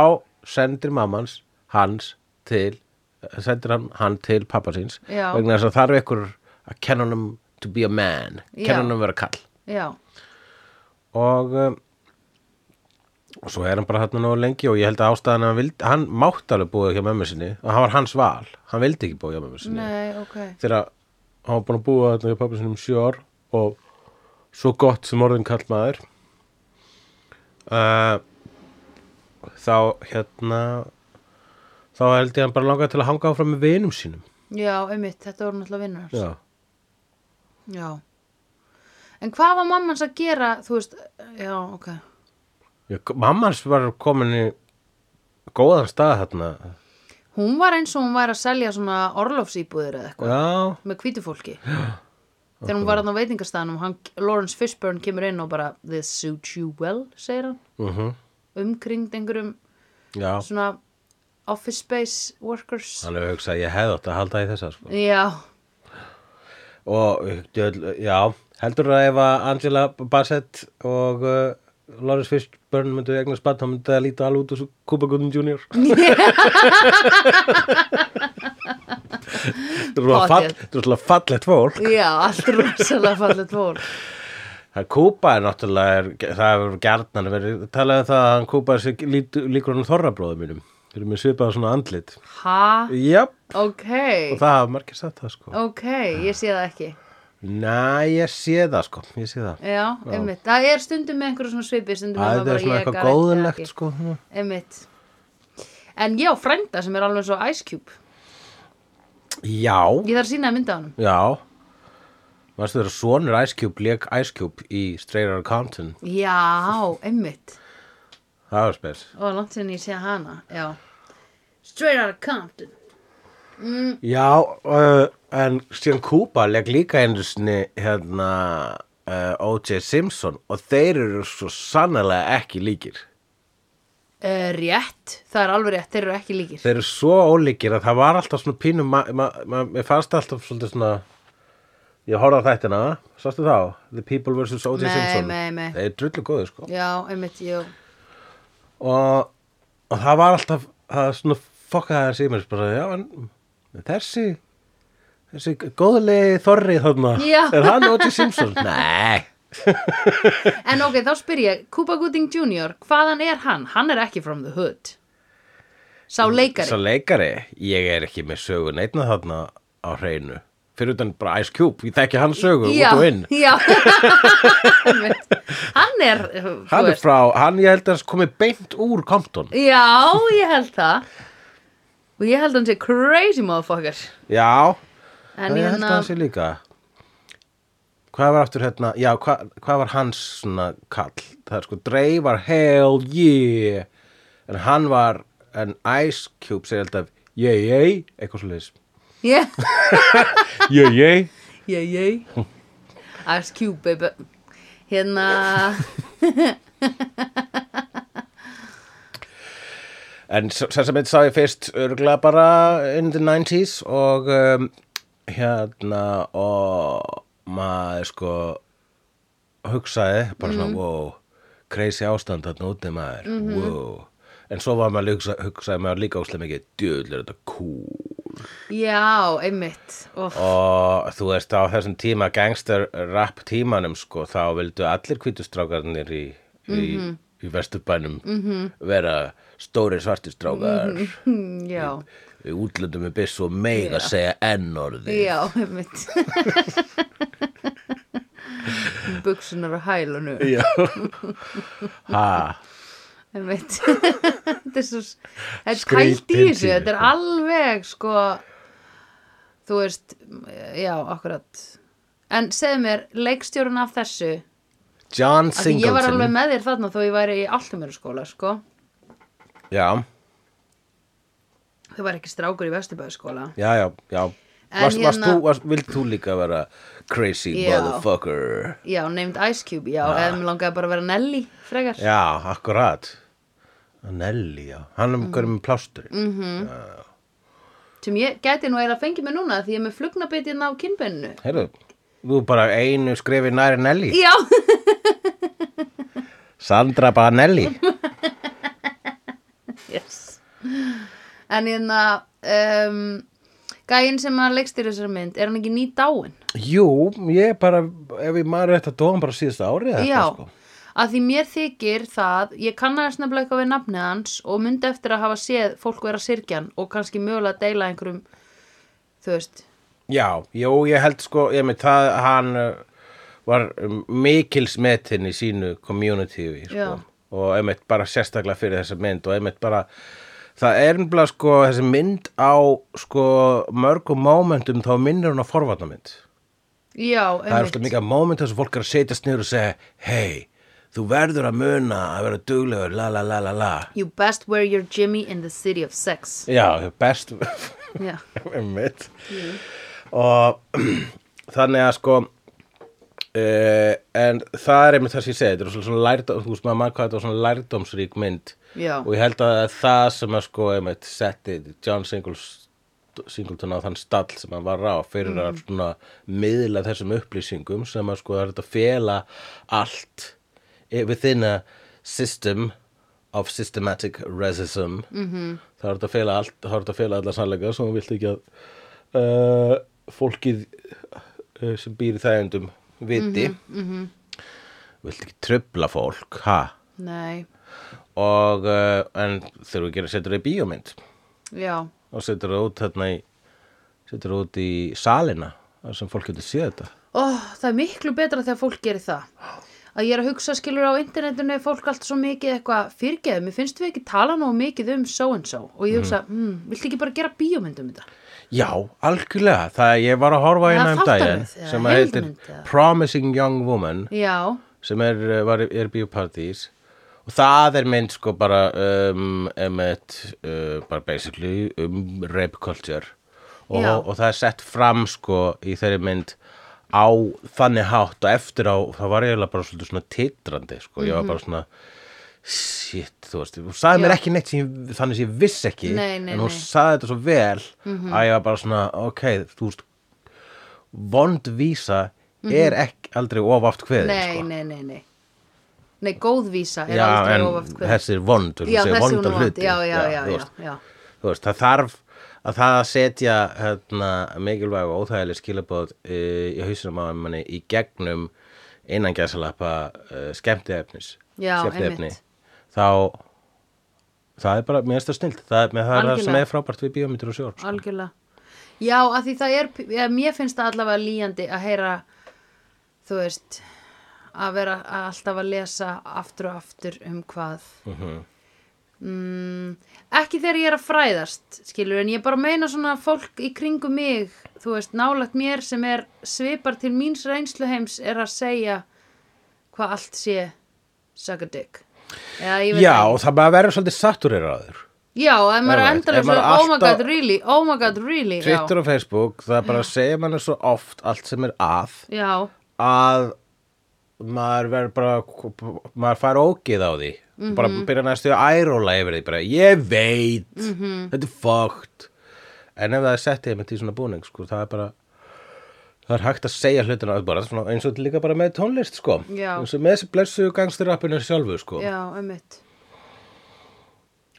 Speaker 1: sendir mammans hans til, sendir hann, hann til pappa síns.
Speaker 2: Já.
Speaker 1: Vegna þess að þarf ykkur að kenna honum to be a man,
Speaker 2: Já.
Speaker 1: kenna honum að vera kall.
Speaker 2: Já,
Speaker 1: Og, um, og svo er hann bara hann nógu lengi og ég held að ástæðan að hann vildi, hann mátti alveg búið hjá mömmu sinni og hann var hans val, hann vildi ekki búið hjá mömmu sinni
Speaker 2: nei, ok.
Speaker 1: þegar hann var búin að búa þarna hjá pappa sinni um sjö ár og svo gott sem orðin kall maður uh, þá hérna þá held ég hann bara langaði til að hanga áfram með vinum sínum
Speaker 2: Já, einmitt, þetta voru náttúrulega vinnur hans.
Speaker 1: já,
Speaker 2: Já. En hvað var mamma hans að gera, þú veist, já, ok.
Speaker 1: já mamma hans var komin í góðan stað þarna
Speaker 2: Hún var eins og hún væri að selja svona orlofsýbúðir eða eitthvað
Speaker 1: já,
Speaker 2: með hvítu fólki. Þegar hún var þarna á veitingastæðanum, hann, Lawrence Fishburne kemur inn og bara, this suits you well, segir hann,
Speaker 1: mhm
Speaker 2: umkringd einhverjum
Speaker 1: já,
Speaker 2: svona office space workers.
Speaker 1: hann hefur hugsað að ég hefði átt að halda í þessa sko.
Speaker 2: Já,
Speaker 1: og eh, djöðl, já, heldur að ef að Angela Bassett og uh, Lawrence Fishburne myndu eignar spatt, þá myndi það líta alveg út úr Kuba Gooding Jr. Þetta er rosalega fall-
Speaker 2: Pottþétt.
Speaker 1: þetta er rosalega fallegt fólk
Speaker 2: já, allt rosalega fallið fólk.
Speaker 1: það Kuba er náttúrulega er, það hefur gjarnan verið talað um það að hann Kuba sé lít- líkur hann þorrabróðum mínum þeir eru með svipað svona andlit
Speaker 2: Ha,
Speaker 1: Jáp,
Speaker 2: ok,
Speaker 1: og það hafa margir sagt það sko
Speaker 2: ok, ég sé það ekki.
Speaker 1: Næ, ég sé það sko, ég sé það
Speaker 2: Já, einmitt. Það er stundum með einhverju svona svipi, stundum er
Speaker 1: Það
Speaker 2: maður
Speaker 1: er svona
Speaker 2: ég
Speaker 1: eitthvað
Speaker 2: gat ekki-
Speaker 1: góðulegt
Speaker 2: ekki.
Speaker 1: sko svona.
Speaker 2: Einmitt. En já, frænda sem er alveg svo Ice Cube.
Speaker 1: Já,
Speaker 2: Ég þarf að sína að mynda á honum.
Speaker 1: já Varstu þeirra sonur Ice Cube leik Ice Cube í Straight Outta Compton
Speaker 2: Já, einmitt.
Speaker 1: Það var spes
Speaker 2: Og langt sinni ég sé hana, já. Straight out of Compton.
Speaker 1: Já, uh, en síðan Kuba leik líka einu sinni hérna uh, O.J. Simpson og þeir eru svo sannlega ekki líkir
Speaker 2: uh, rétt, það er alveg rétt, þeir eru ekki líkir
Speaker 1: þeir eru svo ólíkir að það var alltaf svona pínum maður ma, ma, mér fannst alltaf svolítið svona ég horfði á þættina, sástu þá The People vs. O.J.
Speaker 2: Nei,
Speaker 1: Simpson
Speaker 2: nei, nei.
Speaker 1: þeir eru drullu góðu sko
Speaker 2: Já, einmitt, jú
Speaker 1: og, og það var alltaf það svona fokkaði þessi í mér bara, já, en þessi þessi góðlegi þorri þarna,
Speaker 2: Já.
Speaker 1: er hann O.J. Simpson? nei,
Speaker 2: En ok, þá spyr ég, Cuba Gooding Jr. hvaðan er hann? Hann er ekki from the hood Sá
Speaker 1: Mm,
Speaker 2: leikari
Speaker 1: svo leikari ég er ekki með sögu neitna þarna á hreinu, fyrir utan bara Ice Cube ég þekki hans sögu
Speaker 2: já,
Speaker 1: út og inn
Speaker 2: já. Einmitt. Hann er eh, þú
Speaker 1: hann er
Speaker 2: veist.
Speaker 1: frá, hann ég held að hans komi beint úr Compton
Speaker 2: Já, ég held það Og ég held hann sé crazy motherfucker
Speaker 1: já,
Speaker 2: En
Speaker 1: ég held að
Speaker 2: hérna
Speaker 1: hans sé líka hvað var aftur hérna já, hva, hvað var hans svona kall það er sko, Drey var hell yeah en hann var en Ice Cube segir alltaf yeah yeah, eitthvað svo leis
Speaker 2: Yeah,
Speaker 1: yeah yeah,
Speaker 2: yeah, yeah Ice Cube, baby Hérna
Speaker 1: en Sessamit sá ég fyrst örgulega bara in the 90s og um, hérna og maður sko hugsaði bara svona wow, crazy ástand þarna úti maður wow. en svo var maður hugsa, hugsaði maður líka óslega mikið djöðl er þetta cool
Speaker 2: Já, einmitt Óf,
Speaker 1: og þú veist á þessum tíma gangster rap tímanum sko þá vildu allir hvítustrákarnir í, í, í vesturbænum vera stóri svartistrákar
Speaker 2: Mm, já
Speaker 1: við útlöndum með byssu og mega segja enn orði
Speaker 2: Já, einmitt Buksunar og hælunu
Speaker 1: Já. ha,
Speaker 2: einmitt Þetta er svo Þetta er
Speaker 1: Skrýtin
Speaker 2: kælt í þessu,
Speaker 1: tími,
Speaker 2: þetta er
Speaker 1: sko.
Speaker 2: alveg sko Þú veist, já, akkurat En segðu mér, leikstjórun af þessu af
Speaker 1: John
Speaker 2: því Ég var alveg
Speaker 1: Singleton
Speaker 2: með þér þarna þó ég væri í alltum eru skóla, sko
Speaker 1: já,
Speaker 2: Þau var ekki strákur í Vesturbæðskóla
Speaker 1: já, já, já.
Speaker 2: En
Speaker 1: Varst, varst
Speaker 2: hérna-
Speaker 1: þú, varst, vilt þú líka vera crazy
Speaker 2: Já.
Speaker 1: motherfucker
Speaker 2: Já, named Ice Cube, já, eða mér langaði bara að vera Nelly frekar
Speaker 1: Ah. já, akkurat Nelly, já, hann er mm. hverjum plástur mm
Speaker 2: sem ég gæti nú eiginlega að fengi mig núna því ég er með flugnabitið á kinnbeininu
Speaker 1: Heyrðu, þú er bara einu skrifi næri Nelly.
Speaker 2: Já,
Speaker 1: Sandra bara Nelly.
Speaker 2: yes. En hérna um, Gæinn sem að leikstýra þessari mynd Er hann ekki ný dáin?
Speaker 1: Jú, ég bara, ef ég maður rétt að dóðan bara síðust árið.
Speaker 2: Já,
Speaker 1: Sko.
Speaker 2: að því mér þykir það Ég kannaðist nefnilega eitthvað við nafnið hans Og myndi eftir að hafa séð fólk vera sirkjan Og kannski mögulega deila einhverjum Þú veist
Speaker 1: Já, jú, ég held sko, ég með það, hann uh, var um, mikils metin í sínu community, sko.
Speaker 2: Já.
Speaker 1: Og einmitt bara sérstaklega fyrir þessa mynd og einmitt bara, það er ennbla sko, þessi mynd á sko mörgum momentum þá minnir hún á forvarnamynd.
Speaker 2: Já,
Speaker 1: það er alltaf mikið moment þess að fólk er að setjast niður og segja hei, þú verður að muna að vera duglegur, la la la la la
Speaker 2: You best wear your Jimmy in the city of sex
Speaker 1: já, best
Speaker 2: Já,
Speaker 1: mitt og þannig að sko uh, en það er einmitt það sem ég segi þetta er svona- svona lærdóm, þú veist maður mann hvað þetta var svona lærdómsrík mynd
Speaker 2: Já.
Speaker 1: og ég held að það sem að sko einmitt setti John Singles Singleton á þann stall sem hann var á fyrir að svona miðla þessum upplýsingum sem að sko það er þetta fela allt i- within a system of systematic racism -hmm. það er þetta fela allt það er þetta fela allar sannleika sem þú vilt ekki að uh, fólkið uh, sem býr í þægjendum viti vilt ekki tröfla fólk ha?
Speaker 2: nei,
Speaker 1: og uh, en þurfum ekki að setja það í bíómynd
Speaker 2: já
Speaker 1: og setur það út þarna í setur það út í salina þar sem fólk getur séð þetta
Speaker 2: Ó, það er miklu betra þegar fólk gerir það. Að ég er að hugsa skilur á internetinu er fólk allt svo mikið eitthvað fyrirgeðu. Mér finnst við ekki tala nógu mikið um so and so. Og ég
Speaker 1: Mhm.
Speaker 2: hugsa, mm. viltu ekki bara gera bíómyndum þetta?
Speaker 1: Já, algjörlega, það ég var að horfa
Speaker 2: Það
Speaker 1: hérna
Speaker 2: er
Speaker 1: um daginn
Speaker 2: þáttaröð, eða
Speaker 1: sem að heitir
Speaker 2: heimildarmynd, eða?
Speaker 1: Promising Young Woman
Speaker 2: Já,
Speaker 1: sem er, uh, var, er bíópartís og það er mynd sko bara um, emett, uh, bara basically um rape culture og,
Speaker 2: Já.
Speaker 1: og það er sett fram sko í þeirri mynd á þannig hátt og eftir á, það var eiginlega bara svolítið svona titrandi sko, ég var bara svona shit, þú veist, hún sagði mér
Speaker 2: Mhm. Já.
Speaker 1: ekki neitt sem, ég- þannig sem ég viss ekki
Speaker 2: Nei, nei, Mhm.
Speaker 1: en hún
Speaker 2: nei.
Speaker 1: sagði þetta svo vel að ég var bara svona, ok, þú veist vond vísa er ekki aldrei ofaft kveðin
Speaker 2: Mhm. nei,
Speaker 1: sko.
Speaker 2: nei, nei, nei Nei, góðvísa er
Speaker 1: já,
Speaker 2: aldrei
Speaker 1: en
Speaker 2: ofaft kveðin
Speaker 1: þessi er vond þú
Speaker 2: Já,
Speaker 1: segir
Speaker 2: þessi hún
Speaker 1: vonda
Speaker 2: er vond,
Speaker 1: hluti.
Speaker 2: já, já, já,
Speaker 1: þú
Speaker 2: já,
Speaker 1: veist,
Speaker 2: já.
Speaker 1: þú veist, það þarf að það að setja hérna, mikilvæg og óþægileg skilabóð e, í hausinum á manni í gegnum innan gæsalappa e, skemmtiefnis
Speaker 2: Já,
Speaker 1: skemmtiefni.
Speaker 2: einmitt.
Speaker 1: þá það er bara, mér finnst það snilt það, með það er það
Speaker 2: Algjörlega.
Speaker 1: sem er frábært við bíómyndir og sjór
Speaker 2: Algjörlega Já, að því það er, ja, mér finnst það allavega líjandi að heyra þú veist að vera að alltaf að lesa aftur og aftur um hvað
Speaker 1: Mhm.
Speaker 2: mm, ekki þegar ég er að fræðast skilur, en ég bara meina svona fólk í kringum mig, þú veist, nálægt mér sem er svipar til míns reynsluheims er að segja hvað allt sé suck a dick Já, ég veit
Speaker 1: já,
Speaker 2: það ekki.
Speaker 1: og það bara verður svolítið sattureraður
Speaker 2: Já, ef maður er
Speaker 1: Alright,
Speaker 2: endalega
Speaker 1: ef maður
Speaker 2: svona, oh my
Speaker 1: alltaf-
Speaker 2: god, really, oh my god, really
Speaker 1: Twitter og Facebook, það bara segja manni svo oft allt sem er að
Speaker 2: já, já,
Speaker 1: að maður verður bara maður fær ógið á því bara byrja næstu að æróla yfir því bara ég veit, þetta er fókt en ef það er sett ég með því svona búning sko, það er bara það er hægt að segja hlutina bara, svona, eins og þetta líka bara með tónlist sko
Speaker 2: Já.
Speaker 1: eins og með þessi blessu gangstirrappinu sjálfu sko
Speaker 2: já, einmitt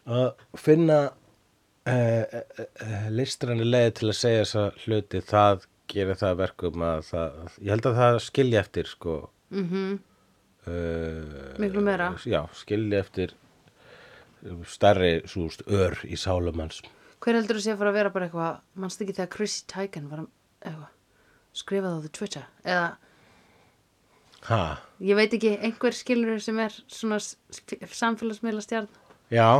Speaker 1: að finna uh, uh, listræni leið til að segja þessa hluti það gerir það að verkum að það, ég held að það skilja eftir sko
Speaker 2: mm
Speaker 1: uh,
Speaker 2: Miklu meira.
Speaker 1: já, skilja eftir uh, stærri súst ör í sálum hans
Speaker 2: Hver heldur þú sé að fara að vera bara eitthvað mannst ekki þegar Chrissy Teigen var að eitthvað, skrifa það á the Twitter eða,
Speaker 1: ha,
Speaker 2: ég veit ekki, einhver skilur sem er svona samfélagsmiðla stjarn
Speaker 1: já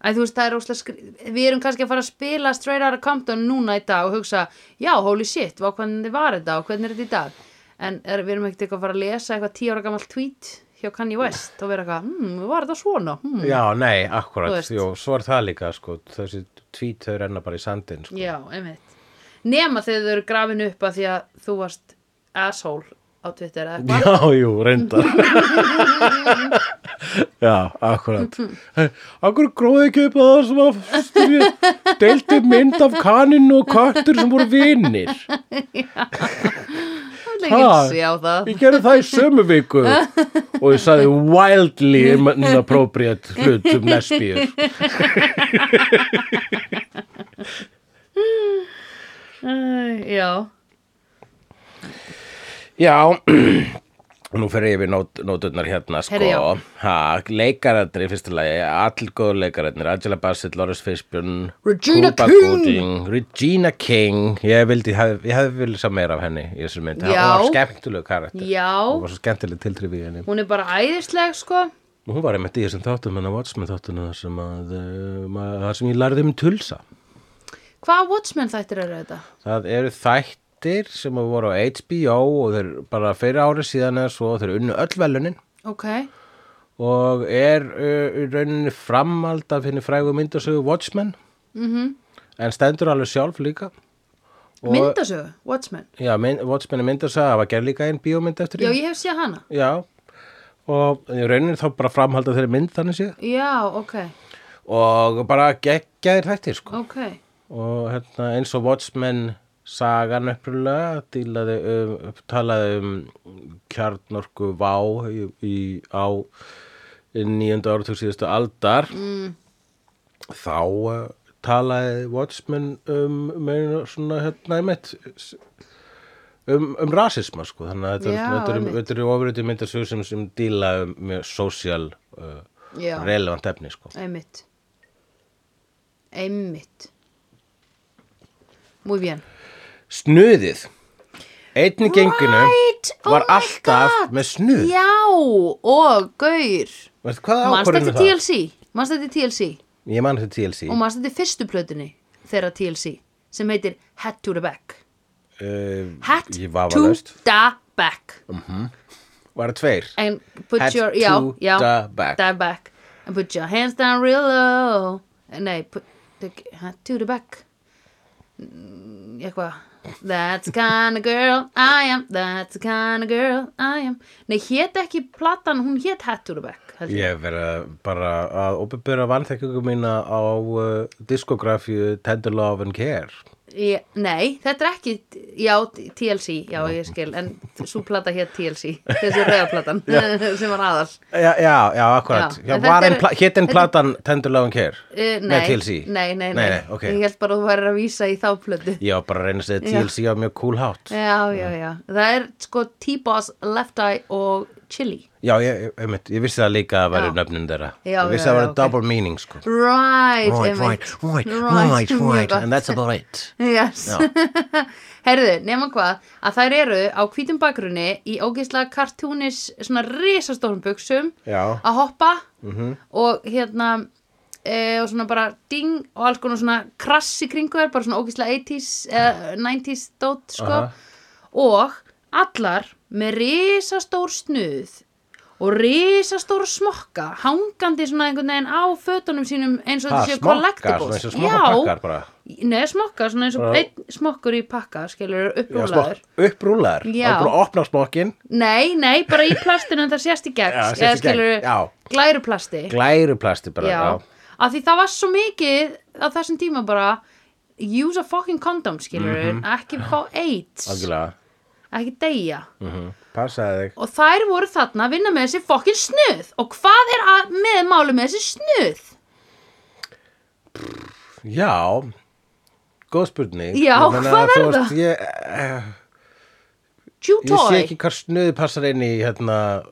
Speaker 2: Æ, þú veist, það er óslega skri... Við erum kannski að fara að spila Straight Outta Compton núna í dag og hugsa, já, holy shit, vá, hvernig var þetta og hvernig er þetta í dag? En er, við erum ekkert eitthvað að fara að lesa eitthvað tíu ára gamalt tweet hjá Kanye West og vera eitthvað, hmm, var þetta svona? Hmm.
Speaker 1: já, nei,
Speaker 2: Þú
Speaker 1: akkurat
Speaker 2: veist.
Speaker 1: Jó, svo er það líka, sko, þessi tvít þau renna bara í sandin, sko
Speaker 2: Já, einmitt. Nema þegar þau eru grafin upp að því að þú varst asshole á Twitter eða eitthvað.
Speaker 1: Já, jú, reyndar Já, akkurat Akkur gróði ekki upp að það sem að styrja deildi mynd af kaninu og köttur sem voru vinir
Speaker 2: Það er ekki
Speaker 1: Ha.
Speaker 2: að sjá það.
Speaker 1: Ég gerði það í sömu viku og ég sagði wildly um inappropriate hlut um lesbíur.
Speaker 2: Æ, Já,
Speaker 1: Já, nú fer ég við nót, nóturnar hérna sko.
Speaker 2: Herri, já.
Speaker 1: ha, leikararnir í fyrsta lagi, allir góðu leikararnir, Angela Bassett, Loris Fishburne,
Speaker 2: Regina
Speaker 1: Cuba
Speaker 2: King.
Speaker 1: Gooding, Regina King, ég vildi, hef, ég hefði viljað sá meira af henni í þessu mynd,
Speaker 2: Já.
Speaker 1: hún var skemmtuleg karakter, hún
Speaker 2: já,
Speaker 1: var svo skemmtileg tiltrifið henni.
Speaker 2: hún er bara æðisleg, sko.
Speaker 1: Og Hún var einmitt í þessum þáttum, hennar Watchmen þáttunum, þar sem, að, uh, maður- þar sem ég lærði um tulsa.
Speaker 2: Hvaða Watchmen þættir eru þetta?
Speaker 1: Það eru þættir sem að voru á HBO og þeir bara fyrir ári síðan eða svo þeir unnu öll velunin
Speaker 2: Ok,
Speaker 1: og er uh, í rauninni framald af henni frægu myndasögu Watchmen
Speaker 2: Mhm.
Speaker 1: en stendur alveg sjálf líka Og-
Speaker 2: myndasögu, Watchmen.
Speaker 1: Já, mynd, Watchmen er myndasöga, það var gerð líka einn bíómynd eftir
Speaker 2: Já,
Speaker 1: því.
Speaker 2: ég hef séð hana.
Speaker 1: Já, og í rauninni þá bara framhald af þeirri mynd þannig séð
Speaker 2: Já, ok,
Speaker 1: og bara geggjaðir þættir sko
Speaker 2: ok.
Speaker 1: og hérna, eins og Watchmen sagan upprunalega dílaði um, talaði um kjarnorku vá í, í, á nýjönda áratug síðustu aldar
Speaker 2: Mm,
Speaker 1: þá uh, talaði Watchmen um meina svona hérna einmitt s- um, um rasisma sko þannig að þetta
Speaker 2: Já,
Speaker 1: er- þetta eru-
Speaker 2: einmitt.
Speaker 1: þetta eru ofurötu myndasögur sem, sem díla um með sósíal uh,
Speaker 2: já,
Speaker 1: relevant efni sko
Speaker 2: einmitt. Einmitt. Muy bien.
Speaker 1: snuðið einni right. genginu
Speaker 2: Right, oh
Speaker 1: var
Speaker 2: my
Speaker 1: alltaf
Speaker 2: God.
Speaker 1: með snuð yeah.
Speaker 2: Já, og gaur.
Speaker 1: Veistu, hvað
Speaker 2: Manst
Speaker 1: ákvörðinu
Speaker 2: þetta
Speaker 1: það?
Speaker 2: TLC? Manst þetta TLC?
Speaker 1: ég man þetta TLC
Speaker 2: Og manst þetta fyrstu plötunni þeirra TLC sem heitir Hat to the Back.
Speaker 1: uh,
Speaker 2: Hat
Speaker 1: ég
Speaker 2: to
Speaker 1: var valust
Speaker 2: the Back.
Speaker 1: var það tveir
Speaker 2: and put
Speaker 1: Head
Speaker 2: your
Speaker 1: to
Speaker 2: já, já,
Speaker 1: the back.
Speaker 2: the back. and put your hands down real low nei, put the, head to the back mm, eitthvað That's the kind of girl I am That's the kind of girl I am Nei, hét ekki platan, hún hét Hatturback
Speaker 1: Ég hef verið bara að opinbera vanþekkingu mína á uh, diskografíu Tender Love and Care.
Speaker 2: Ég, nei, þetta er ekki, já, TLC, já, ég skil, en svo plata hér TLC, þessi rauðaplatan sem var aðal.
Speaker 1: Já, já, já, akkurat.
Speaker 2: Já,
Speaker 1: Já,
Speaker 2: en
Speaker 1: var
Speaker 2: þetta
Speaker 1: ein,
Speaker 2: er-
Speaker 1: pla- hét einn platan Tender Love and Care?
Speaker 2: Uh, nei,
Speaker 1: TLC.
Speaker 2: Nei, nei, nei,
Speaker 1: Nei, nei, ok.
Speaker 2: ég held bara að þú væri að vísa í þá plötu.
Speaker 1: Ég var bara að reyna að segja
Speaker 2: Já.
Speaker 1: TLC á mjög cool hátt.
Speaker 2: Já, já, já, það er sko T-Boss, Left Eye og Chili.
Speaker 1: Já, ég, ég, einmitt, ég vissi það líka að væri
Speaker 2: Já.
Speaker 1: nöfnin þeirra.
Speaker 2: Já,
Speaker 1: ég vissi
Speaker 2: já,
Speaker 1: það
Speaker 2: já,
Speaker 1: væri
Speaker 2: ok.
Speaker 1: double meaning, sko.
Speaker 2: Right,
Speaker 1: Right,
Speaker 2: einmitt.
Speaker 1: right, right, right,
Speaker 2: mjög
Speaker 1: right,
Speaker 2: gott.
Speaker 1: and that's about it.
Speaker 2: Yes.
Speaker 1: Já.
Speaker 2: Herðu, nema hvað, að þær eru á hvítum bakgrunni í ógeislega kartúnis svona risastórum buksum
Speaker 1: Já. Mhm.
Speaker 2: að hoppa og hérna e, og svona bara ding og alls konar svona krass í kringu þær, bara svona ógeislega 80s, e, 90s dót sko
Speaker 1: Aha.
Speaker 2: og allar með risastór snuð og risastór smokka hangandi svona einhvern veginn á fötunum sínum eins og
Speaker 1: Ha,
Speaker 2: þetta séu
Speaker 1: smokkar,
Speaker 2: collectibles
Speaker 1: Ah, svona eins og
Speaker 2: Já.
Speaker 1: smokkapakkar bara.
Speaker 2: Nei, smokkar, svona eins og
Speaker 1: Bara-
Speaker 2: einn smokkur í pakka, skilur,
Speaker 1: Já, smokk,
Speaker 2: upprúlaður.
Speaker 1: upprúlaður.
Speaker 2: Já.
Speaker 1: Það er búin að opna smokkinn,
Speaker 2: Nei, nei, bara í plastinu en það sést í gegn,
Speaker 1: Já, sést í
Speaker 2: eða
Speaker 1: gegn,
Speaker 2: skilur,
Speaker 1: já.
Speaker 2: glæruplasti.
Speaker 1: glæruplasti bara.
Speaker 2: já.
Speaker 1: Já.
Speaker 2: Af því það var svo mikið á þessum tíma bara, use a fucking condom, skilur, ekki fá AIDS,
Speaker 1: Mhm. Algjörlega.
Speaker 2: ekki deyja.
Speaker 1: Mm Passaði þig.
Speaker 2: Og þær voru þarna að vinna með þessi fucking snuð. Og hvað er að með máli með þessi snuð?
Speaker 1: Já, góð spurning.
Speaker 2: Já,
Speaker 1: Ég meina,
Speaker 2: hvað
Speaker 1: þú
Speaker 2: er
Speaker 1: veist,
Speaker 2: það?
Speaker 1: Ég, eh,
Speaker 2: Jutoy.
Speaker 1: ég sé ekki hvað snuði passar inn í hérna,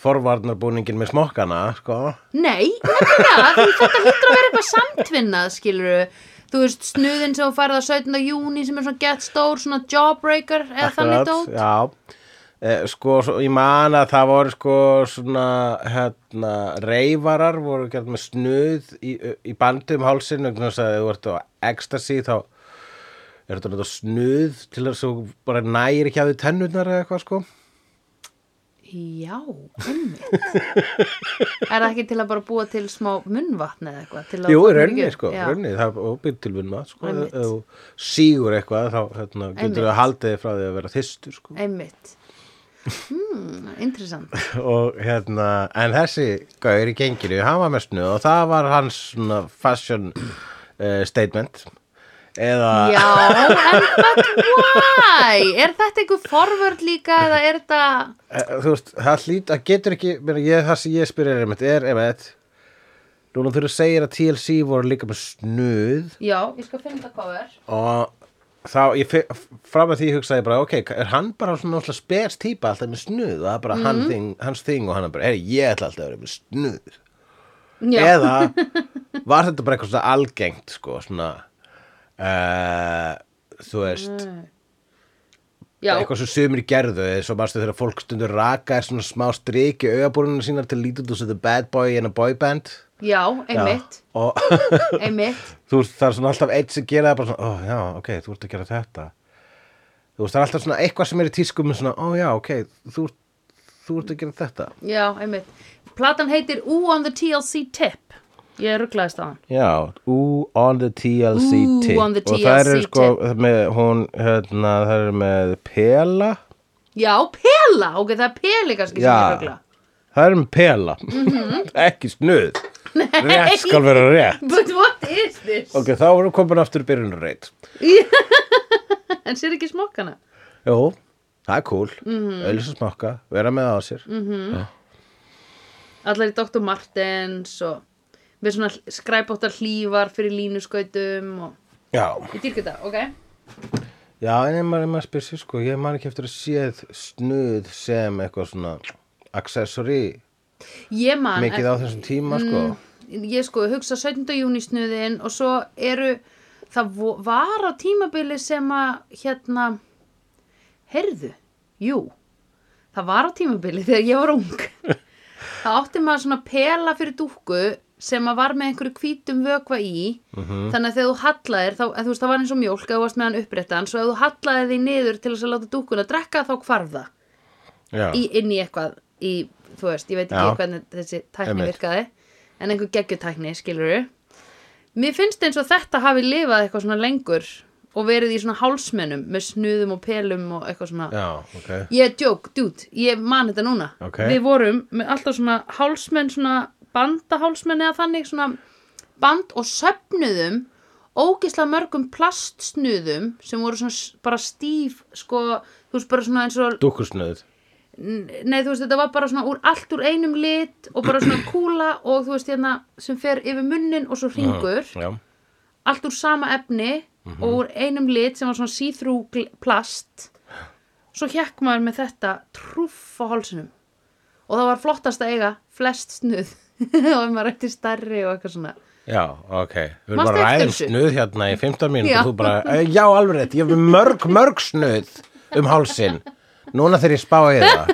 Speaker 1: forvarnarbúningin með smokkana, sko.
Speaker 2: Nei, nefnilega, því þetta hlýtur að vera eitthvað samtvinnað, skilur Þú veist, snuðin sem þú færið á 17. júni sem er svona gett stór, svona jawbreaker eða þannig dót.
Speaker 1: Já. Eh, sko, svo, ég man að það voru sko svona, hérna, reyfarar voru gert með snuð í, í bandi um hálsin vegna þess að ef þú ert á ecstasy þá er þetta náttúrulega snuð til þess að þú bara nægir ekki að þið tennurnar eða eitthvað sko.
Speaker 2: Já, einmitt. er það ekki til að bara búa til smá munnvatn eða eitthvað? til að
Speaker 1: Jú,
Speaker 2: fólk
Speaker 1: í rauninni,
Speaker 2: ekki-
Speaker 1: sko, í
Speaker 2: Já.
Speaker 1: rauninni, það er býr til vinna, sko,
Speaker 2: Einmitt.
Speaker 1: ef ef þú sígur eitthvað, þá hérna, getur
Speaker 2: Einmitt.
Speaker 1: þú haldið þig frá því að vera þystur, sko,
Speaker 2: Einmitt. Hmm, interessant.
Speaker 1: og hérna, en þessi gaur í genginu, hann var með snuð og það var hans svona fashion uh, statement, eða,
Speaker 2: Já, en but why? Er þetta einhver forvörd líka eða er þetta...
Speaker 1: Eh, þú veist, það hlýt, það getur ekki, meina, ég, það sem ég spyrir er, einmitt, er, einmitt, núna þú segir að TLC voru líka með snuð,
Speaker 2: Já, ég skal finna þetta hvað er.
Speaker 1: og þá, ég fe- fram með því hugsaði ég bara, ok, er hann bara svona alltaf spes típa alltaf með snuð og það er bara hann þing, hans þing og hann er bara, heyri, ég ætla alltaf að vera með snuð
Speaker 2: Já.
Speaker 1: eða var þetta bara eitthvað svona algengt sko, svona uh, þú veist
Speaker 2: Mm. Já,
Speaker 1: eitthvað sem sömur gerðu eins og marstu þegar fólk stundur raka svona smá striki augabúrunum sínar til lítið þú sem the bad boy in a boy band
Speaker 2: já,
Speaker 1: Já,
Speaker 2: einmitt,
Speaker 1: og
Speaker 2: einmitt.
Speaker 1: þú veist, það er svona alltaf eitt sem gera það bara svona, ó já, ok, þú ert að gera þetta þú veist, það er alltaf svona eitthvað sem er í tískum svona, ó já, ok, þú þú ert að gera þetta
Speaker 2: Já, einmitt. Platan heitir Ooh on the TLC Tip. Ég rugglaðist á hann.
Speaker 1: já, ooh on the TLC
Speaker 2: Ooh
Speaker 1: tip
Speaker 2: on the
Speaker 1: og það er
Speaker 2: TLC
Speaker 1: sko, með, hún hérna, það er með pela
Speaker 2: Já, Pela, ok, það er Peli kannski sem ég
Speaker 1: Já.
Speaker 2: ruggla.
Speaker 1: það er með pela
Speaker 2: Mhm.
Speaker 1: ekki snuð rétt skal vera rétt
Speaker 2: But what is this?
Speaker 1: ok, þá erum komin aftur byrjunarreit
Speaker 2: En sér ekki smokkana?
Speaker 1: jú, það er cool mm
Speaker 2: Mhm.
Speaker 1: -hmm. smakka, vera með á sér mm -hmm.
Speaker 2: Allar í Dr. Martens og með svona skræpóttar hlífar fyrir línuskautum og...
Speaker 1: já
Speaker 2: Ég dýrk þetta, ok?
Speaker 1: Já, en ef maður, ef maður spyrir sér sko, ég man ekki eftir að séð snuð sem eitthvað svona accessory
Speaker 2: Ég man...
Speaker 1: mikið á
Speaker 2: e-
Speaker 1: þessum tíma sko.
Speaker 2: ég sko hugsa 17. júni snuðin og svo eru það vo- var á tímabili sem að hérna heyrðu, jú það var á tímabili þegar ég var ung það átti maður svona pela fyrir dúkku sem að var með einhverju hvítum vökva í þannig að þegar þú hallaðir þá, en þú veist það var eins og mjólk að þú varst með hann uppréttan svo ef þú hallaðir því niður til þess að láta dúkkuna drekka þá hvarf það
Speaker 1: Já,
Speaker 2: í, inn í eitthvað í, þú veist, ég veit ekki
Speaker 1: Já.
Speaker 2: hvernig þessi tækni
Speaker 1: Einmitt.
Speaker 2: virkaði en einhver geggjutækni, skilur mér finnst eins og þetta hafi lifað eitthvað svona lengur og verið í svona hálsmennum með snuðum og pelum og eitthvað svona
Speaker 1: já, ok
Speaker 2: ég er djók, djút, ég man þetta núna
Speaker 1: Ok.
Speaker 2: við vorum með alltaf svona hálsmenn svona bandahálsmenn eða þannig svona band og söfnuðum ógisla mörgum plastsnuðum sem voru svona s- bara stíf sko, þú veist bara svona eins og
Speaker 1: dúkusnöð
Speaker 2: nei þú veist þetta var bara svona úr allt úr einum lit og bara svona kúla og þú veist hérna sem fer yfir munnin og svo hringur
Speaker 1: já,
Speaker 2: allt úr sama efni
Speaker 1: Mhm.
Speaker 2: og úr einum lit sem var svona síþrú plast svo hjekk maður með þetta trúff á hálsinum og það var flottast að eiga flest snuð og ef maður ætti stærri og eitthvað svona
Speaker 1: já, ok við erum
Speaker 2: Manstu
Speaker 1: bara
Speaker 2: eftir
Speaker 1: ræðum
Speaker 2: þessu?
Speaker 1: snuð hérna í 15 mínútur
Speaker 2: Já.
Speaker 1: og þú bara, "Eh, já, alveg rétt ég hef mörg, mörg snuð um hálsin núna þegar ég spáði það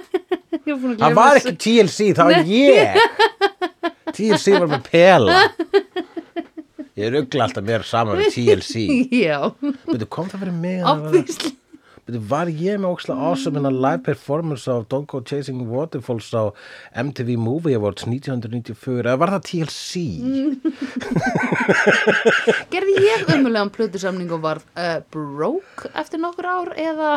Speaker 2: Ég var búin að
Speaker 1: það
Speaker 2: gleyma
Speaker 1: var
Speaker 2: þessu.
Speaker 1: ekki TLC, það var ég TLC var með pela ég ruggla alltaf mér saman við TLC
Speaker 2: já,
Speaker 1: Byrju, kom það fyrir mig að-
Speaker 2: obviously
Speaker 1: Byrju, var ég með óksla awesome in a live performance af Don't Go Chasing Waterfalls á MTV Movie Awards 1994 eða var það TLC
Speaker 2: gerði ég umulegan plötusamning og var uh, broke eftir nokkur ár eða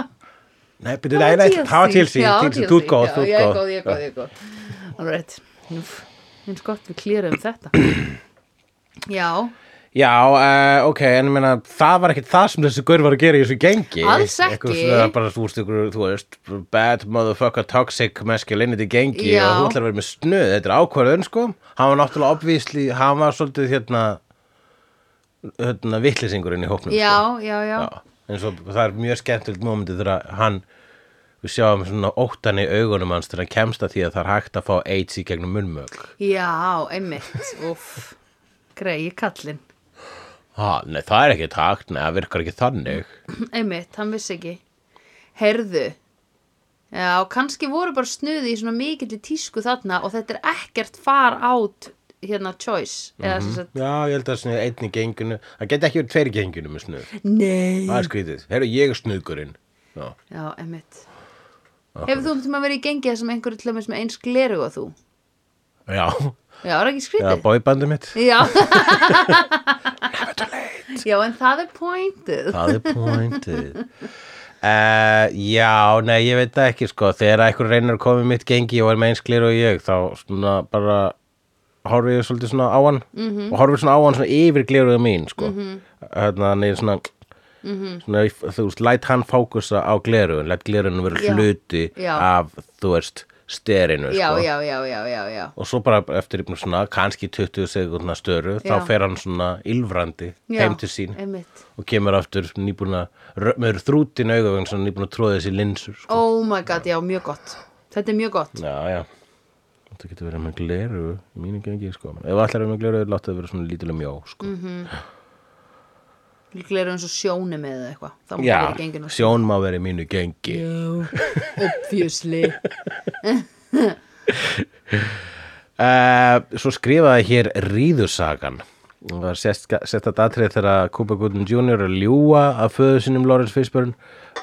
Speaker 1: nei, byrju, nei, nei, það var TLC,
Speaker 2: Já,
Speaker 1: TLC, þú ert góð,
Speaker 2: já,
Speaker 1: þú
Speaker 2: ég er
Speaker 1: ert
Speaker 2: góð, ég er góð,
Speaker 1: góð
Speaker 2: ég er góð alveg rétt Úff, eins gott við klýrum þetta já,
Speaker 1: já, eh, ok, en ég meina það var ekkit það sem þessi gaur var að gera í þessu gengi
Speaker 2: Alls
Speaker 1: Eitthvað
Speaker 2: ekki.
Speaker 1: svona, bara, þú veist, ykkur, þú veist, bad motherfucker toxic masculinity gengi
Speaker 2: Já.
Speaker 1: og þú ætlar að vera með snuð, þetta er ákvörðun sko hann var náttúrulega obvísli, hann var svolítið hérna hérna vitlisingurinn í hópnum
Speaker 2: já,
Speaker 1: sko.
Speaker 2: já, já
Speaker 1: Já, eins og það er mjög skemmtilegt mómentið þegar hann við sjáum svona óttan í augunum hans þegar hann kemst að því að það er hægt að fá AIDS í gegnum munnmög
Speaker 2: já, einmitt, uff greiði kallinn,
Speaker 1: ha, Nei, það er ekki takt, nei, það virkar ekki þannig
Speaker 2: einmitt, hann vissi ekki herðu já, kannski voru bara snuði í svona mikilli tísku þarna og þetta er ekkert far át hérna choice eða
Speaker 1: Mhm.
Speaker 2: sem sagt,
Speaker 1: Já, ég held að snið einn í genginu það geti ekki verið tveir í genginu með snuð
Speaker 2: nei
Speaker 1: Það er skrítið, heyrðu ég er snuðgurinn Já,
Speaker 2: Já, emmitt Hefur þú um að vera í gengi þar sem einhverju til dæmis með eins gleru og þú?
Speaker 1: já,
Speaker 2: Já, er ekki
Speaker 1: já
Speaker 2: skrítið?
Speaker 1: bóibandi mitt
Speaker 2: Já, já en það er pointið
Speaker 1: Það er pointið uh, Já, nei, ég veit það ekki sko Þegar einhver reynir að koma í mitt gengi og er með einsklir og ég þá svona bara horfi ég svolítið svona á hann
Speaker 2: Mhm.
Speaker 1: og horfi svona á hann svona yfir gleruðu mín sko Þannig að hann er svona,
Speaker 2: Mhm.
Speaker 1: svona þú veist, læt hann fókusa á gleruðun læt gleruðun vera
Speaker 2: Já.
Speaker 1: hluti
Speaker 2: Já.
Speaker 1: af, þú veist, sterinu
Speaker 2: Já,
Speaker 1: sko.
Speaker 2: já, já, já, já, já
Speaker 1: og svo bara eftir einhvern svona kannski 20 sekundna störu
Speaker 2: Já.
Speaker 1: þá fer hann svona ylfrandi
Speaker 2: Já,
Speaker 1: heim til sín
Speaker 2: Einmitt
Speaker 1: og kemur aftur nýbúna með þrútin augavegn sem nýbúna að tróða þessi linsur sko.
Speaker 2: Oh my god, já, mjög gott Þetta er mjög gott
Speaker 1: já, já þetta getur verið með gleru í mínu gengi sko. ef allar er með gleru, láttu það vera svona lítilega mjó sko.
Speaker 2: Gleru eins og sjóni með eða eitthvað Þá má
Speaker 1: Mm. já,
Speaker 2: það vera í genginu sko.
Speaker 1: sjón má vera í mínu gengi
Speaker 2: Já, obviously
Speaker 1: uh, svo skrifaði hér ríðusagan og það sést sett að datrið þegar Cooper Goodman Jr. er að ljúa að föðu sinum Lawrence Fishburne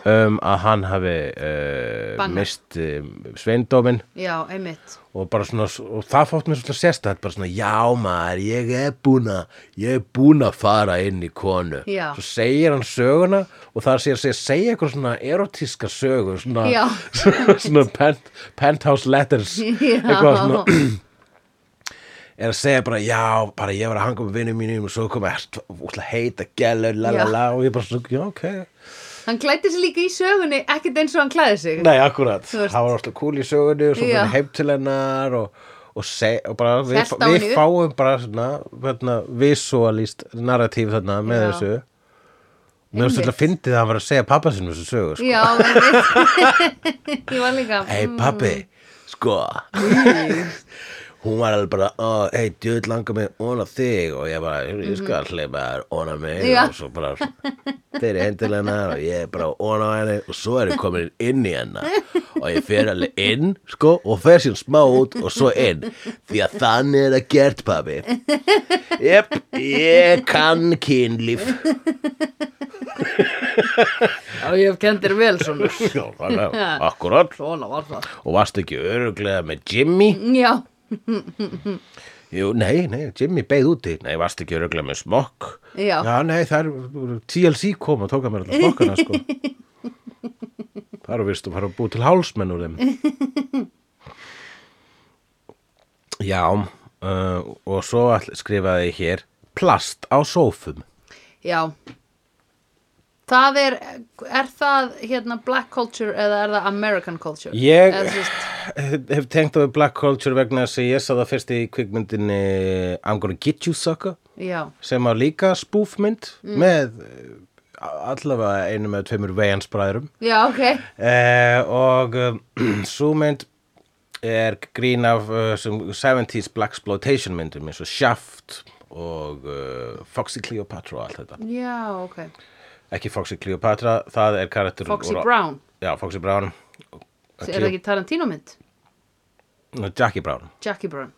Speaker 1: um, að hann hafi uh,
Speaker 2: Bangað.
Speaker 1: mist uh, sveindómin
Speaker 2: Já, einmitt
Speaker 1: og bara svona, og það fótt mér svona sérstætt bara svona, já maður, ég er búin að ég er búin að fara inn í konu
Speaker 2: Já.
Speaker 1: svo segir hann söguna og það segir, segir, segir eitthvað svona erotíska sögu, svona,
Speaker 2: Já.
Speaker 1: svona, svona pent, penthouse letters
Speaker 2: Já.
Speaker 1: eitthvað svona er að segja bara, já, bara ég var að hanga með vinnum mínum og svo kom að heita gælur, la la
Speaker 2: Já.
Speaker 1: la og ég bara svona, já, ok
Speaker 2: Hann klæddi sig líka í sögunni Ekkert eins og hann klæði sig
Speaker 1: Nei, akkurat,
Speaker 2: Þú veist.
Speaker 1: það var alltaf kúl í sögunni og svo
Speaker 2: Já.
Speaker 1: fyrir heim til hennar og, og, seg, og bara við,
Speaker 2: Hélt á
Speaker 1: við
Speaker 2: henni upp.
Speaker 1: fáum bara svona, hérna, visualist narratíf þarna með
Speaker 2: Já.
Speaker 1: þessu Mér finnst
Speaker 2: Einmitt.
Speaker 1: alltaf að fyndið að hann var að segja pappa sinum þessu sögu sko.
Speaker 2: Já, einmitt Ég var líka mm.
Speaker 1: Hei pappi, sko Hún var alveg bara, ó, hei, djöð langar mig óna þig og ég bara, ég skal hleypa þær óna mig
Speaker 2: Já.
Speaker 1: og svo bara þeir heim til hennar og ég er bara óna á henni og svo er ég komin inn í hennar og ég fer alveg inn, sko og fer sín smá út og svo inn því að þannig er það gert pappi Jep, ég kann kynlíf
Speaker 2: Já, ég hef kendir vel svona
Speaker 1: Já, þannig, akkurat
Speaker 2: Svona var það
Speaker 1: og varst ekki öruglega með Jimmy
Speaker 2: Já,
Speaker 1: Jú, nei, nei, Jimmy beigð úti Nei, varst ekki öruglega með smokk
Speaker 2: Já.
Speaker 1: nei, það er TLC kom og tók að mér alltaf smokkana sko. Það eru vist og fara að búi til hálsmenn úr þeim Já uh, og svo all, skrifaði ég hér plast á sófum
Speaker 2: Já Það er, er það hérna black culture eða er það American culture?
Speaker 1: Ég-
Speaker 2: Eða þú veist-
Speaker 1: hef tengt á við black culture vegna þess að ég sá það fyrst í kvikmyndinni I'm gonna get you sucker
Speaker 2: Já,
Speaker 1: sem var líka spúfmynd
Speaker 2: Mm.
Speaker 1: með eh, allavega einum eða tveimur vejansbræðurum
Speaker 2: já, ok
Speaker 1: eh, og um, svo mynd er grín af uh, sem 70s blaxploitation myndum eins og Shaft og uh, Foxy Cleopatra og allt þetta
Speaker 2: Já, ok
Speaker 1: ekki Foxy Cleopatra, það er karakter
Speaker 2: Foxy
Speaker 1: úr-
Speaker 2: Brown,
Speaker 1: já, Foxy Brown
Speaker 2: er það ekki Tarantino mynd?
Speaker 1: Jackie Brown
Speaker 2: Jackie Brown,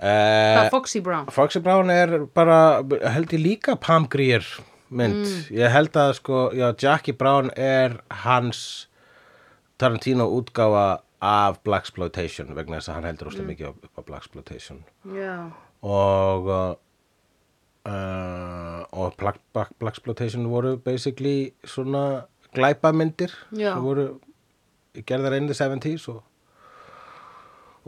Speaker 2: það
Speaker 1: eh,
Speaker 2: er Foxy Brown
Speaker 1: Foxy Brown er bara held ég líka Pam Grier mynd ég held að sko, já, Jackie Brown er hans Tarantino útgáfa af Blaxploitation vegna þess að hann heldur úslega mikið upp- upp á Blaxploitation
Speaker 2: Já,
Speaker 1: og uh, og Black, Black, Blaxploitation voru basically svona glæpamyndir
Speaker 2: Já.
Speaker 1: sem voru gerðar inn í 70s og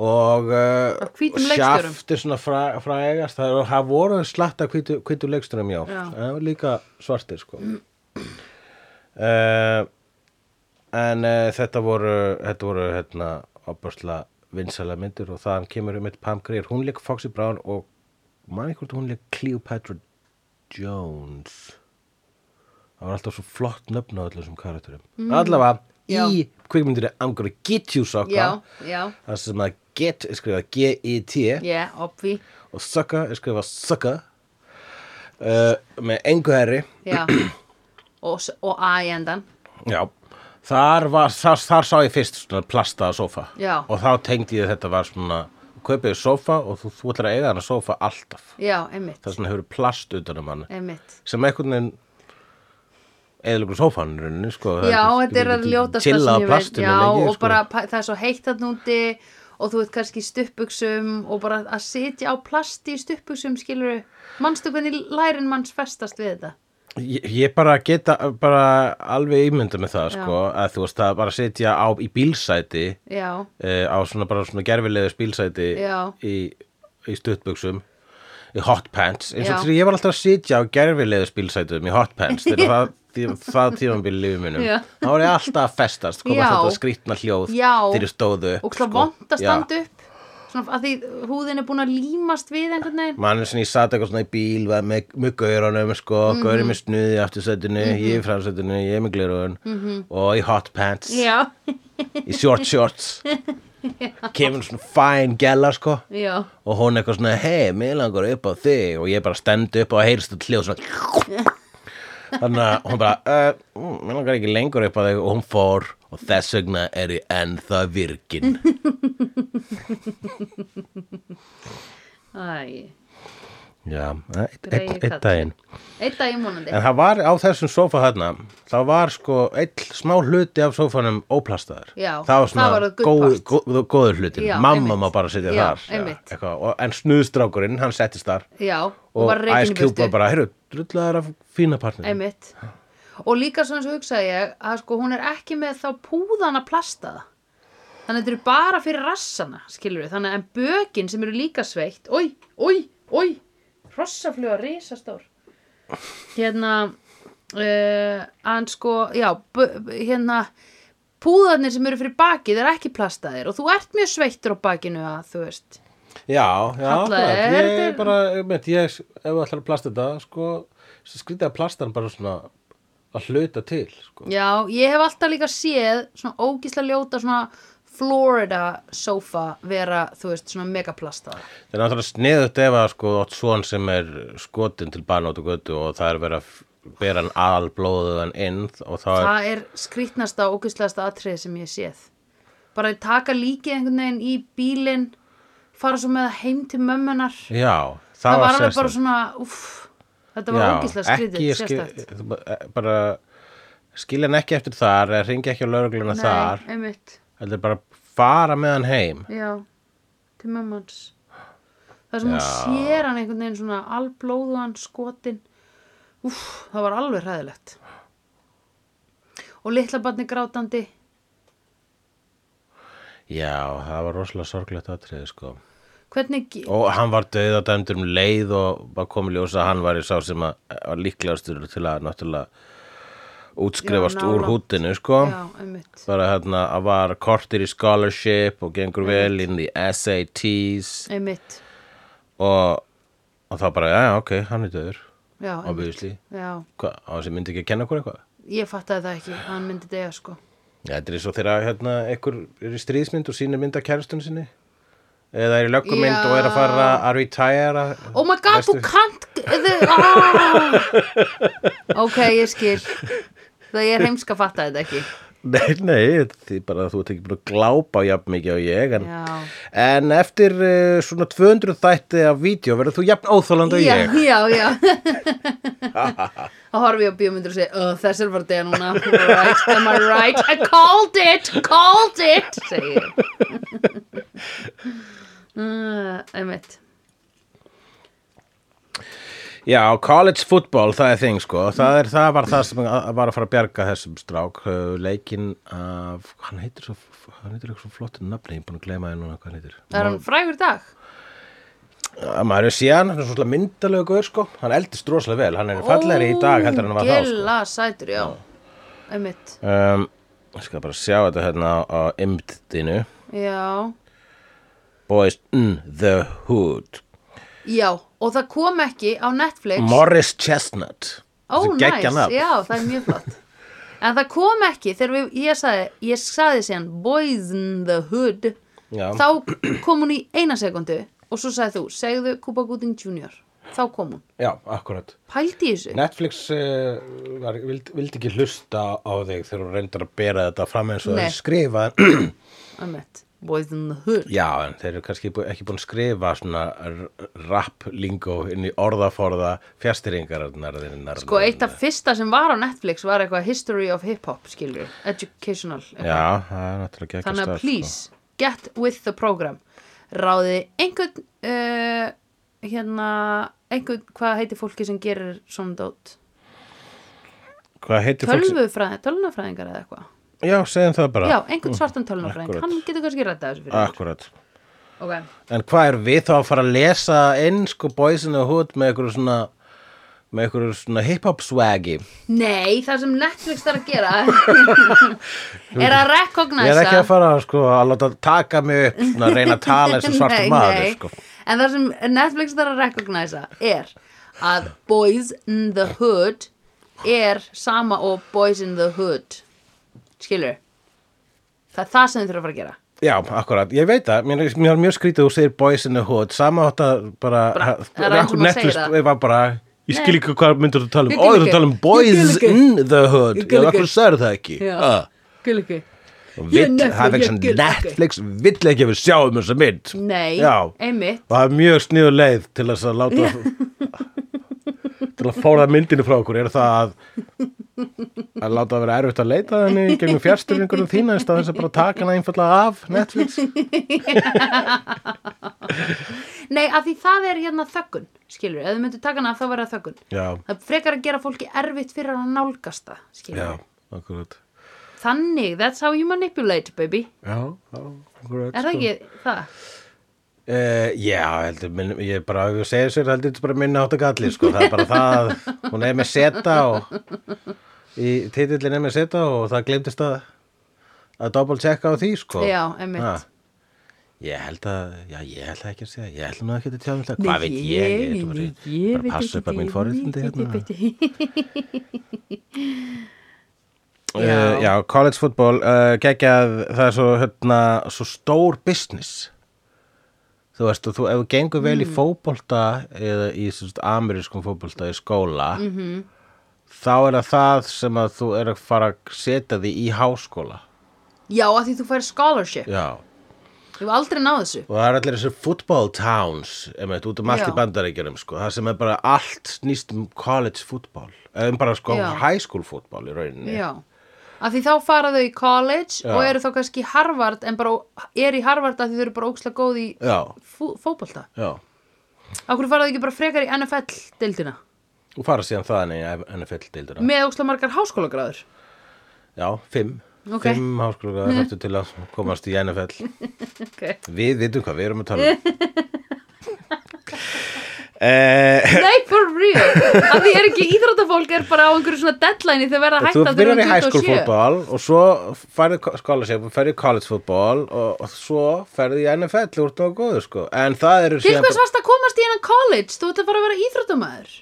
Speaker 1: og uh,
Speaker 2: Af hvítum leikstjórum.
Speaker 1: sjaftir svona fræ, frægast það, eru- það voru slatta hvítu, hvítu leiksturum já,
Speaker 2: Já.
Speaker 1: Það voru líka svartir sko uh, en uh, þetta voru þetta voru hérna opasla vinsæla myndir og þaðan kemur um eitt Pam Grier, hún leik Foxy Brown og mann hvort hún leik Cleopatra Jones það var alltaf svo flott nöfn á öllum þessum karakterum allavega
Speaker 2: Mm. Já.
Speaker 1: í kvikmyndinni I'm gonna get you sucker
Speaker 2: já, já
Speaker 1: það sem að get er skrifað G-I-T
Speaker 2: Yeah, obvi,
Speaker 1: E og sucker er skrifað sucker uh, með engu herri
Speaker 2: já Og, s- og A í endan
Speaker 1: Já, þar, var, þar, þar sá ég fyrst svona plasta sofa
Speaker 2: Já.
Speaker 1: og þá tengdi ég að þetta var svona kaupið sofa og þú, þú ætlar að eiga hana sofa alltaf
Speaker 2: Já, einmitt,
Speaker 1: það er svona hefur plast utan um hann
Speaker 2: einmitt
Speaker 1: sem einhvern veginn eðlugur sófan runni, sko, það
Speaker 2: Já,
Speaker 1: ekki-
Speaker 2: þetta er
Speaker 1: þú
Speaker 2: að
Speaker 1: getur
Speaker 2: ljóta
Speaker 1: ekki chillað á plastinu
Speaker 2: Já,
Speaker 1: lengi,
Speaker 2: og
Speaker 1: sko.
Speaker 2: bara pa- það er svo heitt að núti og þú veit kannski í stuppbuxum og bara að sitja á plasti í stuppbuxum skilur manstu hvernig lærin manns festast við þetta
Speaker 1: Ég, ég bara geta bara alveg ímynda með það, sko, að þú veist að bara sitja á, í bílsæti
Speaker 2: Já,
Speaker 1: uh, á svona bara svona gerfilegðu spílsæti
Speaker 2: Já.
Speaker 1: í, í stuttbuxum í hot pants eins og
Speaker 2: Já.
Speaker 1: því ég var alltaf að sitja á gerfilegðu spílsætum í hot pants þegar það, tí- það tímambil lífið minnum
Speaker 2: Já.
Speaker 1: þá var ég alltaf að festast koma
Speaker 2: Já.
Speaker 1: þetta skrýtna hljóð
Speaker 2: Já.
Speaker 1: þegar ég stóðu sko.
Speaker 2: og slá vond að standa upp svona að því húðin er búin að límast við einhvern veginn
Speaker 1: mann sem ég sat eitthvað svona í bíl var með, með gaurunum sko, mm
Speaker 2: Mhm.
Speaker 1: -hmm. gaurið með snuði aftursætinu, mm -hmm. ég í framsætinu, ég með glerun
Speaker 2: Mhm.
Speaker 1: -hmm. og í hot pants
Speaker 2: Já,
Speaker 1: í short shorts kemur svona fæn gæla sko
Speaker 2: já,
Speaker 1: og hún eitthvað svona hei, mig langar upp á þig og ég bara stend upp og heyrst þetta hljóð svona þannig að hún bara uh, mm, mig langar ekki lengur upp á þig og hún fór og þess vegna er ég ennþá virkin
Speaker 2: æ
Speaker 1: já, eitt,
Speaker 2: Greyið
Speaker 1: eitt, eitt
Speaker 2: kall.
Speaker 1: daginn
Speaker 2: Eitt dag í múnandi
Speaker 1: en það var á þessum sófa þarna þá var sko eitt smá hluti af sófanum óplastaður
Speaker 2: Já,
Speaker 1: það var
Speaker 2: það
Speaker 1: svona
Speaker 2: var the good
Speaker 1: góð,
Speaker 2: part.
Speaker 1: góð, góður hlutin
Speaker 2: Já,
Speaker 1: mamma
Speaker 2: einmitt.
Speaker 1: má bara sitja
Speaker 2: Já,
Speaker 1: þar
Speaker 2: einmitt.
Speaker 1: eitthvað, og, en snuðstrákurinn, hann settist þar
Speaker 2: Já, og
Speaker 1: og
Speaker 2: var reikinu
Speaker 1: Ice Cube var bara, heyrðu, drullar af fína partnir
Speaker 2: Einmitt. Og líka svona svo hugsaði ég að sko hún er ekki með þá púðana plastaða. Þannig að þetta eru bara fyrir rassana, skilur við. Þannig að en bökin sem eru líka sveitt, oi, oi, oi, hrossafluga, risastór. Hérna, uh, en sko, já, bö- hérna, púðarnir sem eru fyrir bakið er ekki plastaðir og þú ert mjög sveittur á bakinu að, þú veist,
Speaker 1: Já, já,
Speaker 2: Halla,
Speaker 1: akkurat.
Speaker 2: er
Speaker 1: ég
Speaker 2: þetta-
Speaker 1: bara, með, ég, ef við ætlar að plasta þetta, sko, skrýta að plastan bara svona að hluta til, sko.
Speaker 2: Já, ég hef alltaf líka séð svona ógísla ljóta svona Florida sofa vera, þú veist, svona megaplasta
Speaker 1: Það er náttúrulega sniðut ef að, sko, átt svon sem er skotin til barna út og götu og það er verið að f- bera hann alblóðuðan inn og þá er,
Speaker 2: Það er skrýtnasta og ógíslaðasta atrið sem ég hef séð Bara að taka líkið einhvern veginn í bílinn fara svo með það heim til mömmunar Það,
Speaker 1: já, það,
Speaker 2: var alveg
Speaker 1: sérstakt.
Speaker 2: bara svona, uff Þetta var ógísla skrýtið,
Speaker 1: ekki
Speaker 2: sérstætt
Speaker 1: skil- bara skilja hann ekki eftir þar eða ringi ekki á lögregluna þar,
Speaker 2: Nei, einmitt,
Speaker 1: heldur bara fara með hann heim.
Speaker 2: já, til mömmans það sem hún
Speaker 1: Já.
Speaker 2: sér hann einhvern veginn svona alblóðuan skotin Úff, það var alveg hræðilegt og litla barni grátandi
Speaker 1: Já, það var rosalega sorglegt atriði sko.
Speaker 2: hvernig, ge-
Speaker 1: Og hann var döðadæmdur um leið og var komið ljósa að hann var í sá sem að, var líklegastur til að náttúrulega útskrifast
Speaker 2: Já,
Speaker 1: úr
Speaker 2: nálægt.
Speaker 1: hútinu sko.
Speaker 2: já, einmitt
Speaker 1: Bara hérna að var kortir í scholarship og gengur vel inn í SATs
Speaker 2: einmitt,
Speaker 1: og, og þá bara, já, já, ok, hann er döður,
Speaker 2: já, einmitt.
Speaker 1: obviously.
Speaker 2: já
Speaker 1: Hvað, á þessi myndi ekki að kenna okkur eitthvað?
Speaker 2: ég fattaði það ekki, að hann myndi degja sko
Speaker 1: Já, þetta er svo þegar hérna, einhver er í stríðsmynd og sínir mynd af kærastunni sinni eða er í löggumynd
Speaker 2: Já.
Speaker 1: og er að fara að retire
Speaker 2: oh my god, þú kant þau- Ah! ok, ég skil það ég er heimska að fatta þetta ekki
Speaker 1: Nei, nei, því bara að þú ert ekki búin að glápa jafn mikið á ég en,
Speaker 2: já
Speaker 1: en eftir uh, svona 200 þætti af vídeo verður þú jafn óþólandi og
Speaker 2: já,
Speaker 1: ég
Speaker 2: já, já þá horfi ég á bíómyndur og segi "Ugh, þessir var dega núna right, am I right, I called it called it, segi ég uh, einmitt
Speaker 1: Já, college football, það er þing sko það, er, það var það sem að, að var að fara að bjarga þessum strák uh, leikinn af, hann heitir svo hann heitir eitthvað svo flottu nafni, ég er búin að gleyma það núna hvað hann heitir
Speaker 2: er hann frægur í dag?
Speaker 1: Já, maður er síðan, hann er svona myndalegu gaur sko, hann eldist rosalega vel, hann er fallegri í dag heldur en hann var þá sko.
Speaker 2: Ógeðlega sætur, já einmitt,
Speaker 1: Um, ég skal bara sjá þetta hérna á, á imdinu,
Speaker 2: já
Speaker 1: Boys in the Hood,
Speaker 2: já, og það kom ekki á Netflix
Speaker 1: Morris Chestnut,
Speaker 2: Ó,
Speaker 1: Þessi
Speaker 2: næs,
Speaker 1: geggjað nafn.
Speaker 2: já, það er mjög flott En það kom ekki þegar við, ég sagði, ég sagði síðan Boys in the Hood
Speaker 1: Já.
Speaker 2: Þá kom hún í eina sekundu og svo sagði þú, segðu Kuba Gooding Jr. Þá kom hún,
Speaker 1: Já, akkurat.
Speaker 2: pældi í þessu
Speaker 1: Netflix uh, var, vildi, vildi ekki hlusta á þig þegar hún reyndar að bera þetta fram eins og
Speaker 2: Nei.
Speaker 1: þeir skrifa,
Speaker 2: Einmitt. Boys in the Hood
Speaker 1: já, en þeir eru kannski bú- ekki búin að skrifa svona rap-lingó inn í orðaforða fjastýringar.
Speaker 2: Sko, eitt af fyrsta sem var á Netflix var eitthvað History of Hip Hop, skilur Educational eitthvað.
Speaker 1: Já, það er náttúrulega ekki
Speaker 2: Þannig að please, get with the program Ráði einhvern uh, hérna einhvern, hvað heitir fólki sem gerir svona dót?
Speaker 1: sko. Hvað heitir fólk? sem-
Speaker 2: Tölvufræðingar, tölvunafræðingar eða eitthvað
Speaker 1: Já, segjum það bara.
Speaker 2: Já, einhvern svartan tölvunafræðing,
Speaker 1: Akkúrat.
Speaker 2: hann getur kannski rættað þessu fyrir
Speaker 1: Akkurat.
Speaker 2: okkur
Speaker 1: En hvað er við þá að fara að lesa inn sko bóðsina hút með einhverju svona með einhverju svona hip-hop swaggi
Speaker 2: Nei, það sem Netflix þarf að gera er að
Speaker 1: Ég er ekki
Speaker 2: rekognæsa
Speaker 1: að fara sko, að láta taka mig upp svona, að reyna að tala eins og svartur maður sko.
Speaker 2: En það sem Netflix þarf að rekognæsa er að Boys in the Hood er sama og Boys in the Hood Skilur Það er það sem þið þurfa að fara að gera
Speaker 1: Já, akkurat, ég veit það, mér, mér er mjög skrítið að þú segir bóðsina hút, sama átt að bara,
Speaker 2: Bara-
Speaker 1: ha-
Speaker 2: það er enginn sem
Speaker 1: Netflix
Speaker 2: segir það.
Speaker 1: var bara, ég skil ekki hvað myndir þú tala
Speaker 2: Ég
Speaker 1: um,
Speaker 2: skil
Speaker 1: ó, þú
Speaker 2: ekki.
Speaker 1: tala um
Speaker 2: Ég
Speaker 1: boys
Speaker 2: skil ekki.
Speaker 1: in the hood, ég
Speaker 2: Ég skil
Speaker 1: veit
Speaker 2: ekki.
Speaker 1: hverju sagði það ekki
Speaker 2: Já.
Speaker 1: Ah.
Speaker 2: Skil ekki Ég
Speaker 1: vill,
Speaker 2: Netflix,
Speaker 1: það er
Speaker 2: ég
Speaker 1: ekki
Speaker 2: get
Speaker 1: sem Netflix vill ekki að við sjáum þessa mynd
Speaker 2: Nei,
Speaker 1: Já.
Speaker 2: einmitt
Speaker 1: og það er mjög sniðu leið til þess að láta til að fóra myndinu frá okkur er það að að láta það vera erfitt að leita að henni gegnum fjárstyrningunum þína í staðins að bara taka hana einfallega af Netflix
Speaker 2: Nei, af því það er hérna þöggun, skilur, ef þið myndu taka hana af þá verða þöggun.
Speaker 1: Já.
Speaker 2: Það er frekar að gera fólki erfitt fyrir að nálgast það, skilur.
Speaker 1: já, akkurat
Speaker 2: Þannig, that's how you manipulate, baby.
Speaker 1: já, já, akkurat sko.
Speaker 2: Er það ekki það?
Speaker 1: Uh, já, heldur, minn, ég er bara, ef ég segir sér, heldur þetta er bara minna átt að galli, sko, það er bara það, að hún er með seta og, í titillin er með seta og það glemtist að, að double checka á því, sko.
Speaker 2: Já, einmitt.
Speaker 1: Ha. Ég held að, já, ég held að ekki að segja, ég held nú ekki að tjá um það,
Speaker 2: Nei,
Speaker 1: hvað veit ég, ég, ég, bara,
Speaker 2: ég,
Speaker 1: ég,
Speaker 2: ég
Speaker 1: bara
Speaker 2: veit
Speaker 1: passa upp
Speaker 2: ekki,
Speaker 1: að mín
Speaker 2: ég
Speaker 1: forréttindi
Speaker 2: veit
Speaker 1: hérna.
Speaker 2: ekki.
Speaker 1: Uh, já, college football, uh, geggjað, það er svo, hérna, svo stór business. Þú veist, og þú, ef þú gengur vel
Speaker 2: Mm.
Speaker 1: í fótbolta eða í sem sagt, amerískum fótbolta í skóla, -hmm.
Speaker 2: Mhm.
Speaker 1: þá er það það sem að þú er að fara að setja því í háskóla.
Speaker 2: Já, af því þú fær scholarship.
Speaker 1: Já.
Speaker 2: Ég hef aldrei náð þessu.
Speaker 1: Og það er allir þessi football towns, emeit, út um allt
Speaker 2: Já.
Speaker 1: í bandaríkjunum, sko, það sem er bara allt snýst um college football, eða um bara, sko,
Speaker 2: Já.
Speaker 1: high school football í rauninni.
Speaker 2: Já. Af því þá fara þau í college
Speaker 1: Já.
Speaker 2: og eru þá kannski í Harvard en bara er í Harvard af því þau eru bara ókslega góð í
Speaker 1: Já,
Speaker 2: fó- fótbolta.
Speaker 1: já.
Speaker 2: Akkur faraði ekki bara frekar í NFL-deildina
Speaker 1: og fara síðan þaðan í NFL-deildina
Speaker 2: með óksla margar háskólagráður
Speaker 1: já, fimm
Speaker 2: Ok. Mhm.
Speaker 1: fimm háskóla þáttu til að komast í NFL
Speaker 2: okay.
Speaker 1: við vitum hvað við erum að tala um eh,
Speaker 2: Nei, for real að Því er ekki íþróttafólk er bara á einhverju svona deadline þegar verða hægt
Speaker 1: þú
Speaker 2: að um hætta
Speaker 1: byrjar í high school
Speaker 2: 27.
Speaker 1: fútbol og svo færði scholarship og færði college fútbol og, og svo færði í NFL úr það góðu sko en það eru
Speaker 2: Til hvers
Speaker 1: bara,
Speaker 2: varst að komast í hennan college? Þú ert að fara að vera íþróttamæður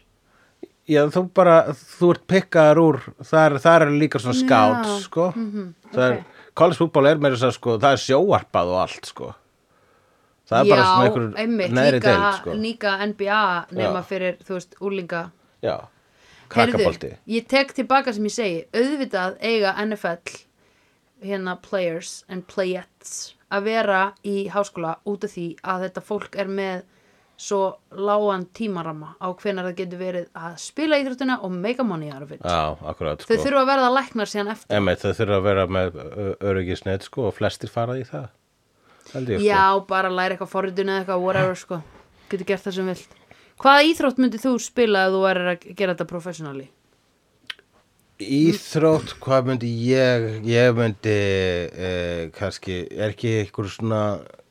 Speaker 1: já, þú bara þú ert pikkaður úr þar, þar eru líka svona scouts
Speaker 2: Já. Mhm.
Speaker 1: sko það er, college fútbol er meira þess að sko það er sjóarpað og allt sko það er
Speaker 2: Já,
Speaker 1: bara svona einhver
Speaker 2: einmitt,
Speaker 1: neðri
Speaker 2: líka,
Speaker 1: deild sko
Speaker 2: líka NBA nema
Speaker 1: Já.
Speaker 2: fyrir, þú veist, úlinga
Speaker 1: já, krakkabolti
Speaker 2: Heyrðu, ég tek tilbaka sem ég segi auðvitað eiga NFL hérna players and playettes að vera í háskóla út af því að þetta fólk er með svo lágan tímarama á hvenar það getur verið að spila íþróttuna og make money out of it
Speaker 1: já, akkurat
Speaker 2: þau
Speaker 1: sko
Speaker 2: þurfa að verða læknar síðan eftir
Speaker 1: Emmett, það þurfa að vera með ö- öryggisnet sko og flestir fara í það held ég sko.
Speaker 2: já, bara læra eitthvað forritun eða eitthvað whatever sko, getur gert það sem vilt hvaða íþrótt myndir þú spila ef þú værir að gera þetta professionally
Speaker 1: sko Íþrótt, hvað myndi ég ég myndi eh, kannski, er ekki einhver svona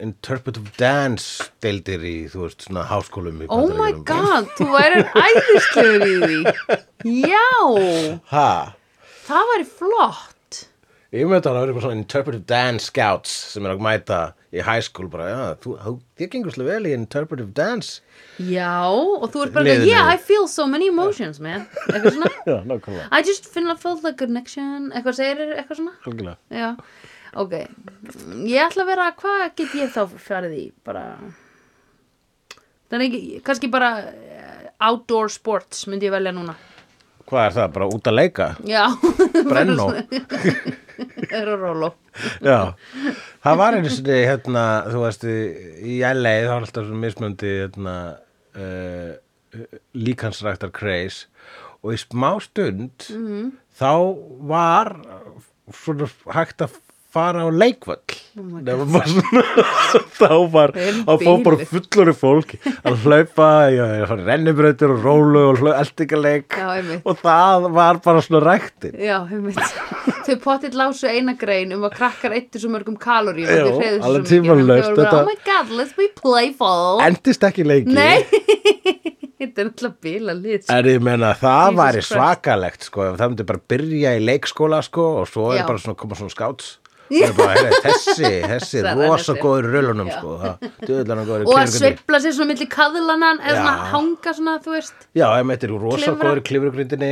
Speaker 1: interpretive dance deildir í, þú veist, svona háskólum í
Speaker 2: oh my
Speaker 1: Bandaríkjunum.
Speaker 2: god, þú værir æðislegur í því já
Speaker 1: Ha,
Speaker 2: Það væri flott
Speaker 1: ég myndi að það vera eitthvað svona interpretive dance scouts sem er að mæta í high school bara, já, þú, þú- þér gengur slega vel í interpretive dance
Speaker 2: Já, og þú ert bara
Speaker 1: Liðinu.
Speaker 2: Yeah, I feel so many emotions, man Eitthvað svona
Speaker 1: Já, nákvæmlega,
Speaker 2: I just feel, felt a connection Eitthvað segir, eitthvað svona
Speaker 1: algjörlega
Speaker 2: Já, ok Ég ætla að vera, hvað get ég þá farið í? Bara Það er ekki, kannski bara eh, Outdoor sports myndi ég velja núna
Speaker 1: Hvað er það, bara út að leika?
Speaker 2: Já
Speaker 1: Brennó
Speaker 2: Er að rólu
Speaker 1: Já, það var einu sinni hérna, þú veist, í í LA þá var alltaf svona mismöndi hérna, uh, líkansræktar kreis og í smá stund
Speaker 2: Mhm.
Speaker 1: þá var svona hægt að fara á leikvöll
Speaker 2: my
Speaker 1: oh var svona, þá var
Speaker 2: Þeir
Speaker 1: þá fór bara
Speaker 2: biluð.
Speaker 1: fullori fólk að hlaupa, já, já, fara í rennibrautir og rólu og hlaupa eldingaleik
Speaker 2: Já, einmitt.
Speaker 1: og það var bara svona ræktin
Speaker 2: Já, heimitt Þau pottitt lásu eina grein um að krakkar eittu svo mörgum kaloríum og
Speaker 1: Já,
Speaker 2: þau hreyfðu sig svo
Speaker 1: alveg
Speaker 2: mikið, þannig að þau
Speaker 1: tímalaust,
Speaker 2: voru bara,
Speaker 1: þetta-
Speaker 2: Oh my god, let's be playful
Speaker 1: endist ekki leiki
Speaker 2: Nei, þetta er alltaf bila lit sko.
Speaker 1: En ég meina það
Speaker 2: Jesus
Speaker 1: væri
Speaker 2: Christ.
Speaker 1: svakalegt sko, ef það myndi bara byrja í leikskóla sko og svo
Speaker 2: Já.
Speaker 1: er bara svona koma svona skáts Það er bara, heyri, þessi, þessi,
Speaker 2: Sagði hann
Speaker 1: rosa
Speaker 2: eftir.
Speaker 1: góður í rölunum sko, það döðlan og góður í
Speaker 2: Og að
Speaker 1: klifurgrindinni.
Speaker 2: sveifla sér svona milli kaðlanan eða
Speaker 1: Já.
Speaker 2: svona hanga svona, þú veist
Speaker 1: Já, ég meitir, rosa
Speaker 2: Klifra.
Speaker 1: góður í klifurgrindinni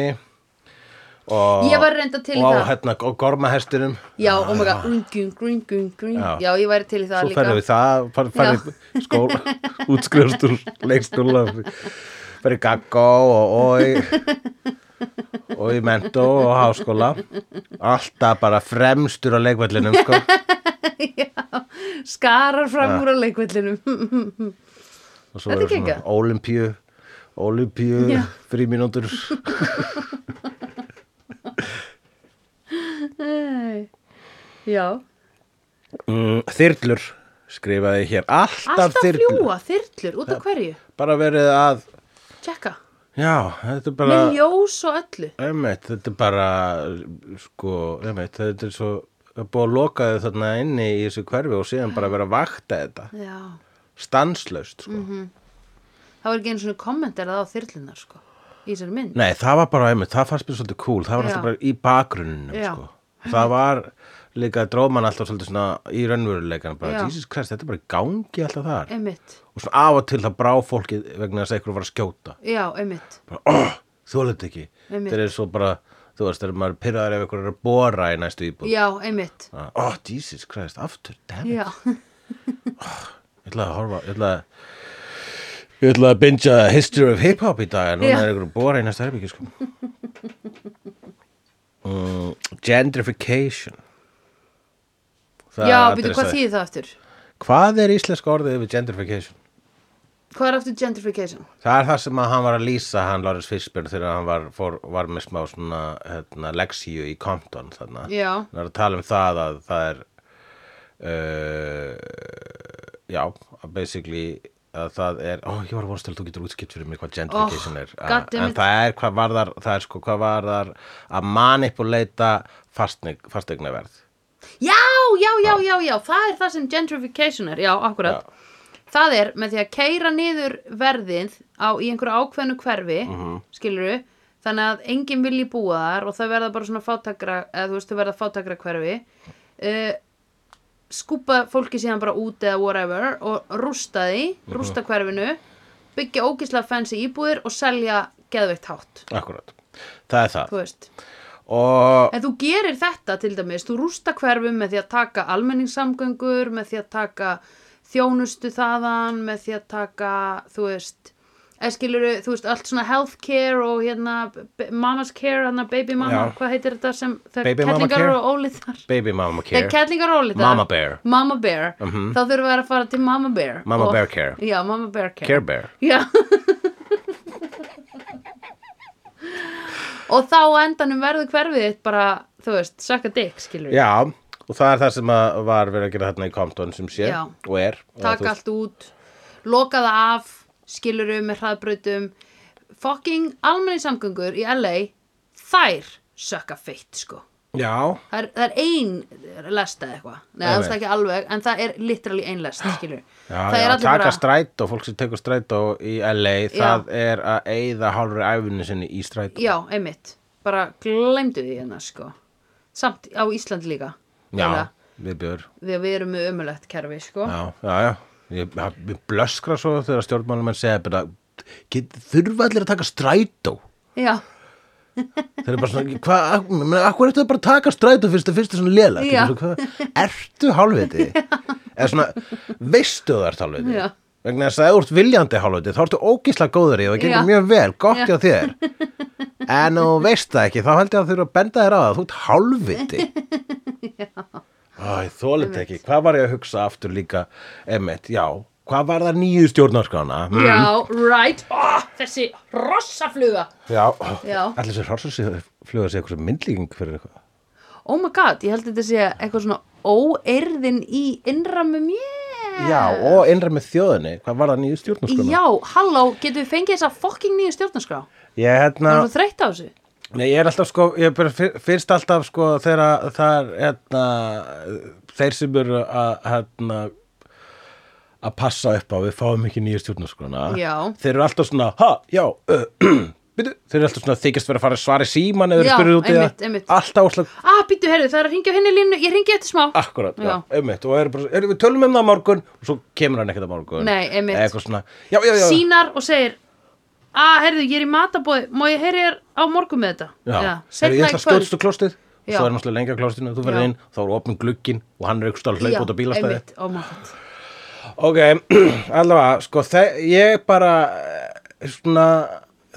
Speaker 1: og,
Speaker 2: Ég var reyndar til í
Speaker 1: og á,
Speaker 2: það.
Speaker 1: hérna, og gormahestinum
Speaker 2: Já, oh og maður gaf, grún, grún, grún, grún
Speaker 1: Já.
Speaker 2: Já, ég væri til í það
Speaker 1: Svo
Speaker 2: líka
Speaker 1: færðu við það, færðu færðu í skóla, útskrifast úr leikstúla, færðu í gaggó og, og, í, og í mentó og háskóla. Alltaf bara fremstur á leikvallinum, sko.
Speaker 2: Skarar fram úr á leikvellinum
Speaker 1: Og svo
Speaker 2: Þetta
Speaker 1: eru svona
Speaker 2: gekk.
Speaker 1: ólimpíu, ólimpíu,
Speaker 2: Já.
Speaker 1: frímínútur.
Speaker 2: Nei. Já,
Speaker 1: Mm, þyrlur, skrifaði hér. Alltaf,
Speaker 2: alltaf
Speaker 1: þyrlur.
Speaker 2: fljúa, þyrlur, út af hverju
Speaker 1: Bara verið að,
Speaker 2: Tjekka,
Speaker 1: já, þetta er bara...
Speaker 2: með ljós og öllu
Speaker 1: Einmitt, þetta er bara sko, einmitt, þetta er svo það er búið að loka þau þarna inni í þessu hverfi og síðan bara vera að vakta þetta
Speaker 2: Já,
Speaker 1: stanslaust sko.
Speaker 2: Mhm. það var ekki einu svona kommentar á þyrlunar, sko Í þessari mynd
Speaker 1: Nei, það var bara einmitt, það fannst mér svolítið cool það var
Speaker 2: Já.
Speaker 1: alltaf bara í bakgrunninu
Speaker 2: Já.
Speaker 1: sko. það var líka dróman alltaf svolítið svona í raunveruleikan bara,
Speaker 2: Já.
Speaker 1: Jesus Christ, þetta er bara í gangi alltaf þar
Speaker 2: Einmitt,
Speaker 1: og svona af og til það brá fólkið vegna þess að eitthvað var að skjóta
Speaker 2: já, einmitt
Speaker 1: bara, oh, þú leitt ekki
Speaker 2: Einmitt.
Speaker 1: þeir eru svo bara, þú veist, þeir eru maður pyrraður ef eitthvað er að bóra í næstu íbúð
Speaker 2: Já, einmitt
Speaker 1: Ah, Oh, Jesus Christ, aftur, damn it
Speaker 2: Já,
Speaker 1: Ég ætlaði að horfa, ég ætlaði að Ég ætlaði að bingja History of Hip Hop í dag en núna
Speaker 2: Já.
Speaker 1: er einhverjum bóra í næsta herbyggi sko. mm, Gentrification Það
Speaker 2: já,
Speaker 1: er
Speaker 2: býtu,
Speaker 1: adressaði.
Speaker 2: hvað þýðir það aftur?
Speaker 1: Hvað er íslenska orðið yfir gentrification?
Speaker 2: Hvað er aftur gentrification?
Speaker 1: Það er það sem að hann var að lýsa hann Lawrence Fishburne þegar hann var, fór, var með smá svona hérna, leksíu í Compton þarna.
Speaker 2: Já.
Speaker 1: Hann er að tala um það að það er uh, já, að basically að það er, ó ég var að vonast til að þú getur útskipt fyrir mér hvað gentrification
Speaker 2: Oh,
Speaker 1: er að,
Speaker 2: goddammit.
Speaker 1: en það er hvað varðar það er sko hvað varðar að manipuleita fasteign- fasteignaverð
Speaker 2: Já, já, já, já, já, það er það sem gentrification er, já, akkurat Það er með því að keira niður verðið á, í einhverju ákveðnu hverfi, mm -hmm. þannig að enginn vilji búa þar og það verða bara svona fátakra, eða þú veist, þau verða fátakra hverfi uh, skúpa fólki síðan bara út eða whatever og rústa því, rústa hverfinu byggja ógislega fensi íbúðir og selja geðveikt hátt,
Speaker 1: akkurat, það er
Speaker 2: þú
Speaker 1: það
Speaker 2: veist
Speaker 1: og
Speaker 2: En þú gerir þetta til dæmis, þú rústa hverfum með því að taka almenningssamgöngur, með því að taka þjónustu þaðan, með því að taka, þú veist, eskiluru, þú veist, allt svona healthcare og hérna b- mama's care, hérna baby mama,
Speaker 1: Já.
Speaker 2: hvað heitir þetta sem, þegar
Speaker 1: Baby mama
Speaker 2: kettlingar
Speaker 1: care?
Speaker 2: eru ólíðar.
Speaker 1: baby mama care
Speaker 2: Þegar kettlingar eru ólíðar.
Speaker 1: Mama bear. Mhm.
Speaker 2: Mama bear. Þá þurfum við að fara til mama bear.
Speaker 1: Mama
Speaker 2: og,
Speaker 1: bear care.
Speaker 2: Já, mama bear care.
Speaker 1: care bear
Speaker 2: Já Og þá á endanum verður hverfið þitt bara, þú veist, sökka dikk, skilur við
Speaker 1: Já, og það er það sem að var verið að gera þarna í Compton sem sé
Speaker 2: Já.
Speaker 1: og er
Speaker 2: Takk
Speaker 1: Eða,
Speaker 2: allt út, loka það af, skilur við með hraðbrautum Fucking almenningssamgöngur í LA, þær sökka feitt, sko
Speaker 1: þú- Já,
Speaker 2: Það er, það er ein lest eða eitthvað Nei, það er
Speaker 1: Einmitt.
Speaker 2: ekki alveg, en það er literally ein lest, skilur við
Speaker 1: já,
Speaker 2: Það
Speaker 1: já
Speaker 2: er allir
Speaker 1: taka
Speaker 2: bara,
Speaker 1: strætó, fólk sem tekur strætó í LA,
Speaker 2: Já.
Speaker 1: það er að eyða hálfri æfinu sinni í strætó
Speaker 2: já, einmitt Bara glemdu því hérna, sko Samt á Íslandi líka
Speaker 1: já
Speaker 2: Eða-
Speaker 1: við björ
Speaker 2: því að við erum með ömulegt kerfi sko.
Speaker 1: Já, já, já Ég, ég blöskra svo þegar stjórnmálum en segja bara, get, þurfa allir að taka strætó
Speaker 2: já,
Speaker 1: Þeir eru bara svona, hvað, menn, akkur ertu bara að taka strætó fyrst að fyrst er svona lélega
Speaker 2: Já.
Speaker 1: Ertu hálfviti? Eða svona, veistu það ert hálfviti?
Speaker 2: Já.
Speaker 1: Vegna þess að ef þú ert viljandi hálfviti, þá ertu ógísla góður í og það gengur
Speaker 2: Já.
Speaker 1: mjög vel, gott
Speaker 2: Já.
Speaker 1: hjá þér En þú veist það ekki, þá held ég að þú eru að benda þér á það, þú ert hálfviti Æ, þólit ekki, hvað var ég að hugsa aftur líka, emmitt, já Hvað var það nýju stjórnarskrána? Mm.
Speaker 2: já, right oh, þessi rossafluga
Speaker 1: Já,
Speaker 2: Já.
Speaker 1: allir sér hrossafluga sé eitthvað myndlíking fyrir eitthvað
Speaker 2: oh my god, ég held að þetta sé eitthvað svona óeirðin í innramu mér
Speaker 1: Já, og innra með þjóðinni, hvað var það nýju stjórnarskona?
Speaker 2: já, halló, getum við fengið þessa fokking nýju stjórnarskrá við
Speaker 1: Ég, hérna,
Speaker 2: erum svo þreytt á þessu
Speaker 1: nei, ég er alltaf sko, ég er bara fyr- fyrst alltaf sko þegar að það er, hérna, þeir sem eru að, hérna, að passa upp á, við fáum ekki nýju stjórnarskona.
Speaker 2: Já.
Speaker 1: Þeir eru alltaf svona, ha, já, uh, byrju, þeir eru alltaf svona þykist verið að fara að svara í síman eða
Speaker 2: Já,
Speaker 1: spyrir út í
Speaker 2: einmitt,
Speaker 1: það.
Speaker 2: einmitt.
Speaker 1: Alltaf óslag,
Speaker 2: ah, býttu, herðu, það er að ringja henni línu ég ringi eftir smá
Speaker 1: Akkurat, já,
Speaker 2: Já.
Speaker 1: einmitt og er bara, er, við tölum um það á morgun og svo kemur hann ekkert á morgun
Speaker 2: Nei, einmitt.
Speaker 1: Eða eitthvað svona, já, já, já,
Speaker 2: sínar og segir ah, herðu, ég er í matabóði, má ég heyri þér á morgun með þetta
Speaker 1: Já,
Speaker 2: já,
Speaker 1: Heyrðu,
Speaker 2: seinna
Speaker 1: ég ætla
Speaker 2: í
Speaker 1: að
Speaker 2: kvöld.
Speaker 1: skjóðstu klostið og
Speaker 2: Já.
Speaker 1: svo er náttúrulega lengja klostinu þú verður
Speaker 2: Já.
Speaker 1: inn, þá er opnum glugginn og hann er ykkur stál
Speaker 2: Já,
Speaker 1: hlaup út á bílastæði
Speaker 2: einmitt, oh my god
Speaker 1: Ok, allavega, sko þe- ég bara eh, svona,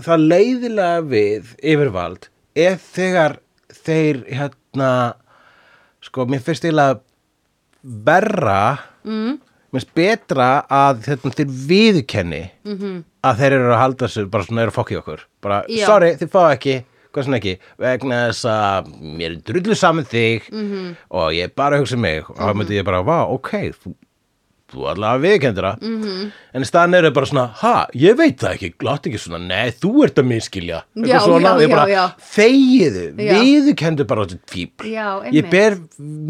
Speaker 1: það leiðilega við yfirvald er þegar þeir hérna sko, mér finnst eiginlega verra mm. mér finnst betra að hérna, þeir viðkenni -hmm. að þeir eru að halda þessu, bara svona eru að fokka í okkur bara,
Speaker 2: Mhm. Já.
Speaker 1: sorry, þið fá ekki hvað sem ekki, vegna þess að mér er drullu saman þig
Speaker 2: Mhm.
Speaker 1: -hmm. og ég er bara að hugsa um mig og þá myndi ég bara, vá, ok, þú þú allavega viðkendur það
Speaker 2: Mhm.
Speaker 1: -hmm. en í staðan eru bara svona, ha, ég veit það ekki látt ekki svona, nei, þú ert að miskilja Eitthvað
Speaker 2: Já,
Speaker 1: svona,
Speaker 2: já,
Speaker 1: ég bara,
Speaker 2: já, já.
Speaker 1: þegiðu,
Speaker 2: Já.
Speaker 1: viðkendu bara þetta fíbl,
Speaker 2: Já,
Speaker 1: ég
Speaker 2: einmitt.
Speaker 1: ber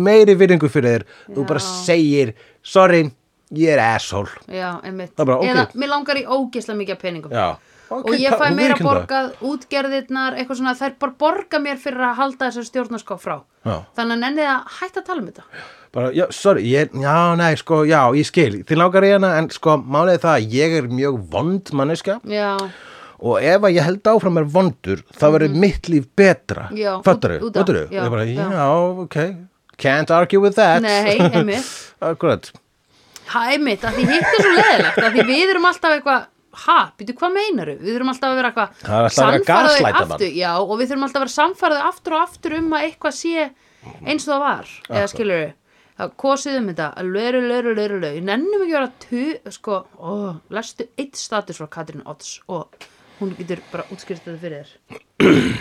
Speaker 1: meiri virðingu fyrir þér, þú
Speaker 2: Já.
Speaker 1: bara segir sorry, ég er asshole
Speaker 2: Já, einmitt.
Speaker 1: Það er bara, ok.
Speaker 2: Eða, mér langar í ógisla mikið af peningum.
Speaker 1: já, ok,
Speaker 2: og ég
Speaker 1: ta-
Speaker 2: fæ
Speaker 1: þú
Speaker 2: meira
Speaker 1: viðurkennir það.
Speaker 2: borgað útgerðirnar, eitthvað svona, þær bara borga mér fyrir að halda þessar stjórnarská frá.
Speaker 1: Já.
Speaker 2: Þannig að nenni að hætta að tala um þetta.
Speaker 1: bara, já, sorry, ég, já, nei, sko, já, ég skil þið langar í hana, en sko, málið er það að ég er mjög vond manneska
Speaker 2: Já,
Speaker 1: og ef að ég held áfram er vondur þá verður mitt líf betra
Speaker 2: Mhm. Já,
Speaker 1: fattar
Speaker 2: út-
Speaker 1: þau,
Speaker 2: út af,
Speaker 1: fattar þau,
Speaker 2: já,
Speaker 1: ég bara,
Speaker 2: já.
Speaker 1: já, ok can't argue with that
Speaker 2: Nei, einmitt.
Speaker 1: akkurat,
Speaker 2: ha, einmitt, að því hitt er svo leðilegt, að því við erum alltaf eitthvað, ha, býtu, hvað meinaru? Við erum alltaf að vera eitthvað,
Speaker 1: Það er alltaf að vera
Speaker 2: sannfæra þau
Speaker 1: gaslighta mann.
Speaker 2: aftur, já, og við þurfum alltaf að vera samfæraði aftur og aftur um að eitthvað sé eins og það var, eða skilur við, kosið um þetta, löru, löru, löru, löru, nennum ekki að vera tu, sko, ó, lestu eitt status frá Katrín Odds og hún getur bara útskýrt þetta fyrir þér.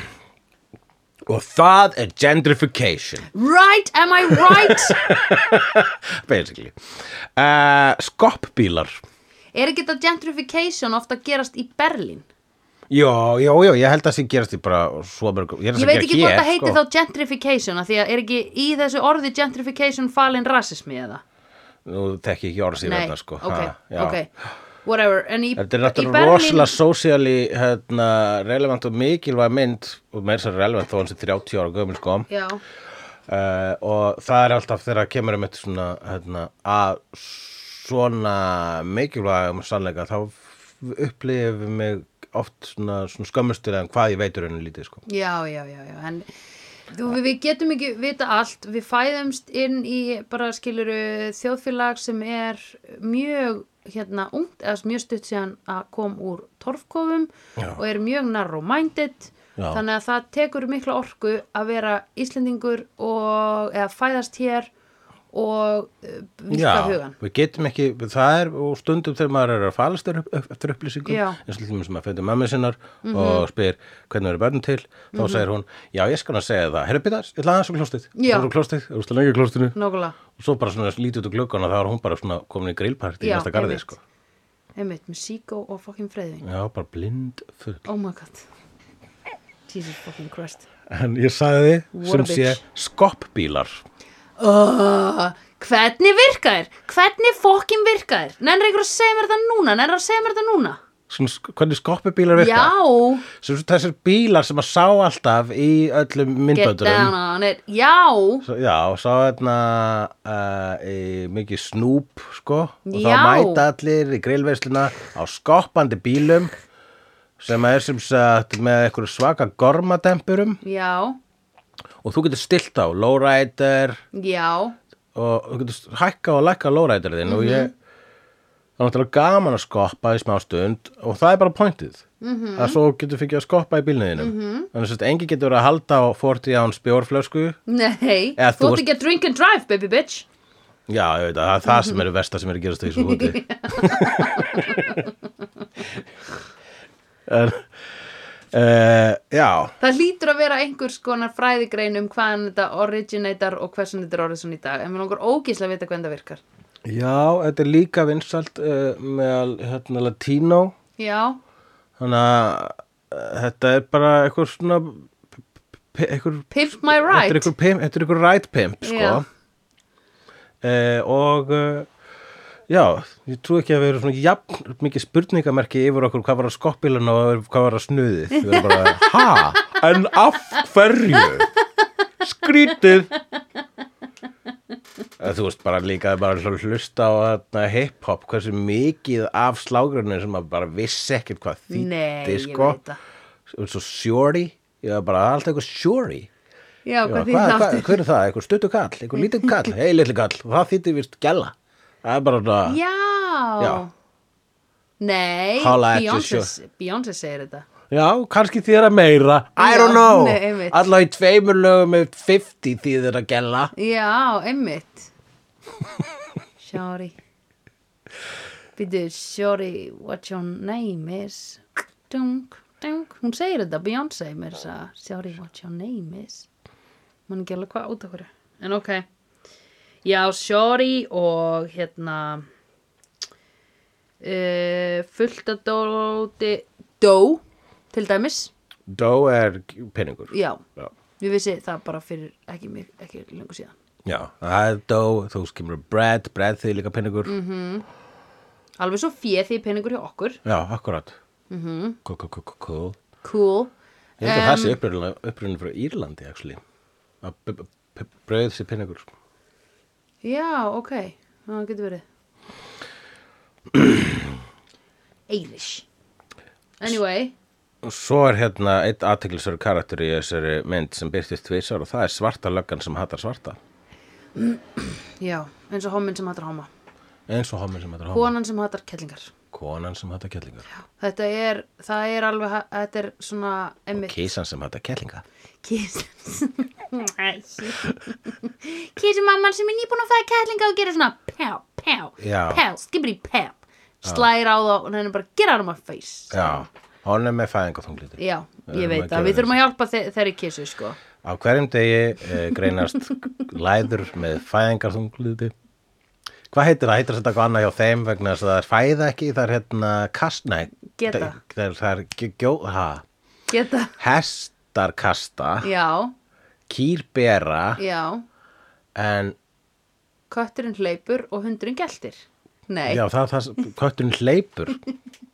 Speaker 1: og það er gentrification
Speaker 2: Right, am I right?
Speaker 1: basically uh, skoppbílar
Speaker 2: er ekki þetta gentrification ofta að gerast í Berlín
Speaker 1: já, já, já, ég held að það sé gerast í bara svo mörgum, ég er
Speaker 2: ég
Speaker 1: að
Speaker 2: veit
Speaker 1: segja
Speaker 2: ekki hvort það heiti
Speaker 1: sko.
Speaker 2: þá gentrification af því að er ekki í þessu orði gentrification falin rasismi eða
Speaker 1: nú tekki ég ekki orðs í þetta sko
Speaker 2: ok,
Speaker 1: ha, já.
Speaker 2: ok whatever en í,
Speaker 1: Þetta er
Speaker 2: í
Speaker 1: náttúrulega rosalega sósíali hérna, relevant og mikilvæg mynd og með þess að relevant þó hann sé 30 ára gömul sko
Speaker 2: já,
Speaker 1: uh, og það er alltaf þegar kemur um eitt svona hérna, að svona mikilvægum sannleika þá upplifum mig oft svona, svona skömmustur en hvað ég veitur henni lítið sko
Speaker 2: já, já, já, já. En, þú, við, við getum ekki vita allt við fæðumst inn í bara skiluru þjóðfélag sem er mjög hérna ungt eða mjög stutt síðan að kom úr torfkofum
Speaker 1: Já.
Speaker 2: og er mjög narrow-minded
Speaker 1: Já.
Speaker 2: þannig að það tekur mikla orku að vera Íslendingur og, eða fæðast hér og uh, vilka hugan
Speaker 1: við getum ekki, það er og stundum þegar maður er að falast er upp- upp- eftir upplýsingum
Speaker 2: Já. Mhm.
Speaker 1: eins og hlutum sem maður fyrir mömmu sinnar og spyr hvernig eru börn til þá segir hún, já ég skal hann segja það herru býtar, ég ætla aðeins á klóstið
Speaker 2: Já. Mm.
Speaker 1: þú eru klóstið, þú veist að lengi í klóstinu
Speaker 2: Nógulega,
Speaker 1: og svo bara svona lítið út úr gluggan og þá er hún bara svona komin í grillparti í
Speaker 2: Já,
Speaker 1: næsta garði
Speaker 2: einmitt.
Speaker 1: sko.
Speaker 2: einmitt, með síkó og fucking freyðing
Speaker 1: já, bara blind full
Speaker 2: Oh my god Jesus fucking Christ
Speaker 1: en ég sagði
Speaker 2: What
Speaker 1: sem
Speaker 2: a
Speaker 1: sé
Speaker 2: bitch.
Speaker 1: skoppbílar
Speaker 2: uh, Hvernig virka þér? Hvernig fucking virka þér? Nennir ykkur að segja mér þetta núna? Nennir að segja mér þetta núna?
Speaker 1: svona, sk- hvernig skoppubílar virka
Speaker 2: Já,
Speaker 1: sem svo þessir bílar sem maður sá alltaf í öllum
Speaker 2: get
Speaker 1: myndböndurum
Speaker 2: down on it Já,
Speaker 1: Svo, já, sá hérna uh, í, mikið snúb, sko, og
Speaker 2: Já.
Speaker 1: þá mæta allir í grillveisluna á skoppandi bílum sem er sem sagt með einhverju svaka gormadempurum
Speaker 2: já,
Speaker 1: og þú getur stilt á lowrider
Speaker 2: já
Speaker 1: og þú getur hækka og lækka lowrider þinn og ég það er náttúrulega gaman að skoppa í smá stund og það er bara pointið -hmm. að svo getur fyrir að skoppa í bílniðinum mm -hmm. þannig að engi getur verið að halda á 40 án spjórflösku
Speaker 2: Nei,
Speaker 1: Eða þú
Speaker 2: þú
Speaker 1: varst-
Speaker 2: ert ekki að drink and drive, baby bitch
Speaker 1: Já, ég veit að það er það sem eru versta sem eru að gerast í þessu húti en, uh, Já,
Speaker 2: Það hlýtur að vera einhvers konar fræðigrein um hvaðan þetta originator og hversan þetta er orðið svona í dag en mér langar ógíslega að vita hvernig það virkar
Speaker 1: já, þetta er líka vinsalt uh, meðal hérna, latínó
Speaker 2: Já,
Speaker 1: þannig að uh, þetta er bara eitthvað svona p- eitthvað
Speaker 2: pimp my
Speaker 1: Þetta er
Speaker 2: right
Speaker 1: ykkur, pimp, þetta er ykkur right pimp, sko.
Speaker 2: Já.
Speaker 1: Eh, og eh, já, ég trú ekki að við erum svona jafn mikið spurningamerki yfir okkur hvað var að skoppilun og hvað var að snuðið. Við erum bara, ha, en af hverju? Skrítið. Eh, Þú veist bara líka bara að hlusta á þarna hip-hop, hversu mikið af slágrunni sem maður bara vissi ekkert hvað
Speaker 2: Nei,
Speaker 1: þýtti,
Speaker 2: ég
Speaker 1: sko.
Speaker 2: veit það.
Speaker 1: Svo sjóri, ég var bara alltaf eitthvað sjóri.
Speaker 2: Já,
Speaker 1: Já,
Speaker 2: hvað
Speaker 1: hvað,
Speaker 2: því það
Speaker 1: hvað,
Speaker 2: aftur?
Speaker 1: hver er það? Einhver stuttu kall, einhver lítið kall, hei litli kall og það þýttir vist gæla það er bara svona,
Speaker 2: Já.
Speaker 1: Já.
Speaker 2: Nei,
Speaker 1: Holla at you,
Speaker 2: Beyoncé,
Speaker 1: sure.
Speaker 2: Beyoncé segir þetta.
Speaker 1: já, kannski þýðir að meira I
Speaker 2: Já,
Speaker 1: don't know,
Speaker 2: nei, einmitt.
Speaker 1: allavega í tveimur lögum með 50 þýðir að gæla
Speaker 2: Já, einmitt. Sorry. Býtu, sorry, what your name is. Dung, dung. Hún segir þetta, Beyoncé, mér þess að sorry, what your name is. Man ekki alveg hvað út af hverju. En ok. Já, sorry og hérna... Uh, fullt að dóti dó til dæmis
Speaker 1: Dó er peningur
Speaker 2: já,
Speaker 1: já,
Speaker 2: ég vissi það bara fyrir ekki, mik- ekki lengur síðan
Speaker 1: já það er dó, þú skimur bread bread þýðir líka peningur
Speaker 2: Mhm. Alveg svo fér því peningur hjá okkur.
Speaker 1: já, akkurat mm
Speaker 2: Mhm.
Speaker 1: -hmm. cool, cool, cool, cool, cool
Speaker 2: Cool.
Speaker 1: ég held að það sé upprunni, upprunni frá Írlandi actually. að b- b- b- brauð sé peningur
Speaker 2: Já, ok. Það getur verið. Eilish. Anyway.
Speaker 1: Og Svo er hérna eitt aðteklisveru karakter í þessari mynd sem byrtist tvisar og það er svarta löggan sem hattar svarta.
Speaker 2: Já, eins og hominn sem hattar homa.
Speaker 1: Eins og homin sem hattar homin.
Speaker 2: Konan sem hattar kellingar.
Speaker 1: Konan sem hattar kellingar.
Speaker 2: Þetta er, það er alveg, ha- þetta er svona emmi.
Speaker 1: Kísan sem hattar kellinga.
Speaker 2: Kiss. Kissi um mamman sem er nýbúin að fæða kettlinga og gera svona pjá, pjá,
Speaker 1: Já.
Speaker 2: pjá, skipri pjá. Slæra á þá og henni bara get out of my face.
Speaker 1: Já, hún er með fæðingatunglíti.
Speaker 2: Já,
Speaker 1: erum að
Speaker 2: ég veit
Speaker 1: gera
Speaker 2: það. Við þurfum að hjálpa þe þeirri kissu, sko.
Speaker 1: Á hverjum degi eh, greinast læður með fæðingatunglíti. hvað heitir það, heitir þetta eitthvað annað hjá þeim vegna þess að það er fæða ekki, það er hérna kast, nei,
Speaker 2: Geta.
Speaker 1: það er- það er gjó- gjó, ha,
Speaker 2: geta,
Speaker 1: hestar kasta,
Speaker 2: já,
Speaker 1: kýr bera,
Speaker 2: já
Speaker 1: en
Speaker 2: kötturinn hleypur og hundurinn geltir nei,
Speaker 1: já, það, það, kötturinn hleypur,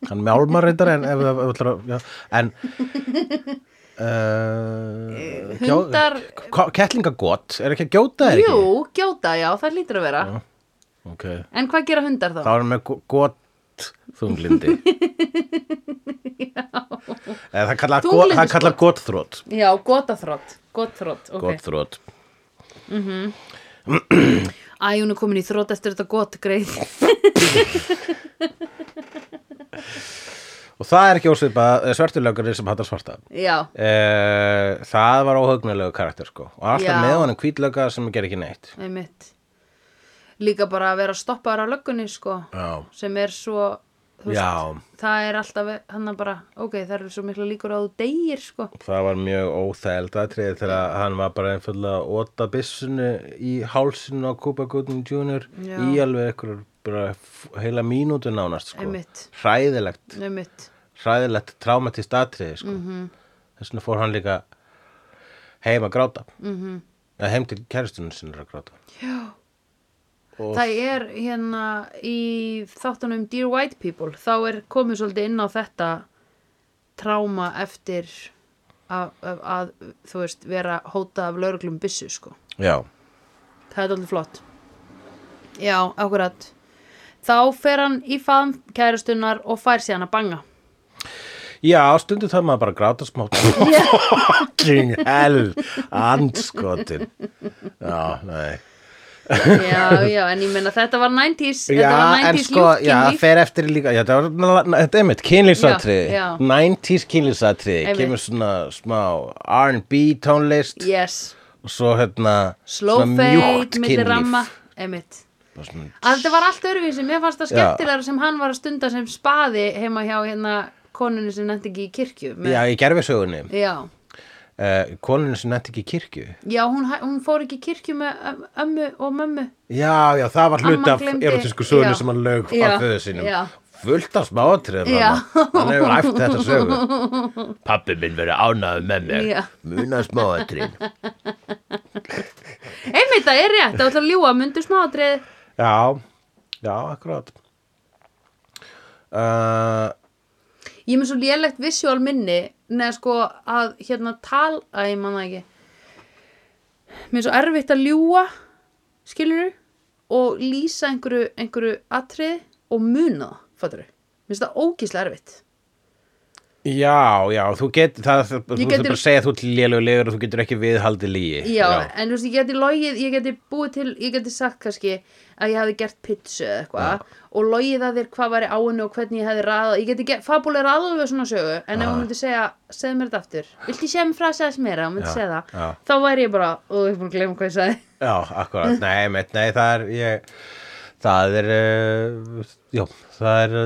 Speaker 1: hann mjálmar reyndar en ef það, ef það, já, en, uh,
Speaker 2: hundar-
Speaker 1: kettlingagott, er ekki að gjóta er ekki?
Speaker 2: jú, gjóta, já, það lítur að vera
Speaker 1: Ok,
Speaker 2: en hvað gera hundar þá?
Speaker 1: þá erum við gott þunglindi. já. Það kalla,
Speaker 2: Þunglyndisbrot.
Speaker 1: það kalla gott þrótt.
Speaker 2: já, gotaþrótt, gotaþrótt ok,
Speaker 1: Gott þrótt.
Speaker 2: æ, hún er komin í þrótt eftir þetta got, greið
Speaker 1: Og það er ekki ósvipað svertulögurinn sem hattar svarta.
Speaker 2: já,
Speaker 1: Uh, það var óhugnulegu karakter sko og alltaf
Speaker 2: Já.
Speaker 1: með honum kvítlöka sem ger ekki neitt
Speaker 2: einmitt líka bara að vera stoppaður á löggunni, sko
Speaker 1: já,
Speaker 2: sem er svo þú
Speaker 1: Já.
Speaker 2: það er alltaf, hann er bara ok, það eru svo mikla líkur á að þú deyir, sko
Speaker 1: það var mjög óþæld aðtrið þegar hann var bara einfallega að óta byssunu í hálsinu á Cuba Gooding Jr.
Speaker 2: Já.
Speaker 1: í alveg ekkur bara f- heila mínútu nánast sko
Speaker 2: Einmitt.
Speaker 1: hræðilegt
Speaker 2: einmitt,
Speaker 1: hræðilegt traumatist atriði sko. mm
Speaker 2: Mhm.
Speaker 1: -hmm. þess vegna fór hann líka heim að gráta mm
Speaker 2: Mhm.
Speaker 1: -hmm. heim til kæristunum sinni að gráta Og-
Speaker 2: það er hérna í þáttunum Dear White People þá er komið svolítið inn á þetta tráma eftir að, að, að þú veist vera hótað af lauruglum byssu sko
Speaker 1: já,
Speaker 2: það er alveg flott já, akkurat þá fer hann í faðm kærastunar og fær síðan að banga
Speaker 1: já stundu það maður bara að gráta smá fucking hell andskotin já, nei
Speaker 2: já, já, en ég meina þetta var 90s þetta var 90s
Speaker 1: en sko, já, það fer eftir líka já, það var, na- þetta er mitt, kynlýsatriði
Speaker 2: Já, já.
Speaker 1: 90s kynlýsatriði
Speaker 2: Einmitt.
Speaker 1: kemur svona smá R&B tónlist
Speaker 2: yes,
Speaker 1: og svo hérna
Speaker 2: slow
Speaker 1: svona mjúkt
Speaker 2: fade, milli
Speaker 1: kynlíf.
Speaker 2: ramma emitt
Speaker 1: Bara svona
Speaker 2: að þetta var allt öðruvísi, mér fannst það
Speaker 1: Já.
Speaker 2: skemmtilegra sem hann var að stunda sem spaði heima hjá hérna konunni sem nefndi ekki í kirkju með,
Speaker 1: Já, í gerfisögunni
Speaker 2: já. Já.
Speaker 1: uh, konunni sem nætti ekki í kirkju
Speaker 2: hún, hæ- hún fór ekki í kirkju með öm- ömmu og mömmu
Speaker 1: Já, já, það var hlut
Speaker 2: Amma
Speaker 1: af
Speaker 2: gleymdi-
Speaker 1: erotísku sögunni
Speaker 2: já.
Speaker 1: sem hann lög
Speaker 2: Já,
Speaker 1: af föðu sínum
Speaker 2: já.
Speaker 1: Fullt af smáatrið
Speaker 2: Já.
Speaker 1: Hann hefur æft þetta sögu Pappi minn verið ánæður með mér
Speaker 2: Já.
Speaker 1: Muna smáatrið
Speaker 2: einmitt það er rétt, það var að ljúga myndu smáatrið
Speaker 1: Já, já, akkurat uh,
Speaker 2: ég er með svo lélegt visual minni neða sko að hérna tal að ég manna ekki mér er svo erfitt að ljúga skilur og lýsa einhverju, einhverju atrið og muna það, fattur mér finnst það ógíslega erfitt
Speaker 1: Já, já, þú get það, þú
Speaker 2: Ég
Speaker 1: getur
Speaker 2: geti-
Speaker 1: bara að segja að þú ert lélulegur og þú getur ekki viðhaldið lígi
Speaker 2: Já, en þú veist, ég geti logið, ég geti búið til, ég geti sagt kannski að ég hefði gert pizza eða eitthvað og logið að þér hvað væri á henni og hvernig ég hefði raðað, ég geti get, fabuleira alveg svona sögu, en ef hún myndi segja, segðu mér þetta aftur, viltu ég segja mér frasa um þess meira, hún myndi
Speaker 1: Já,
Speaker 2: segja það,
Speaker 1: já.
Speaker 2: þá væri ég bara, og ég er búin að glemma hvað ég sagði.
Speaker 1: Já, akkurat, nei, meitt, nei, það er ég, það er uh, já, það er uh,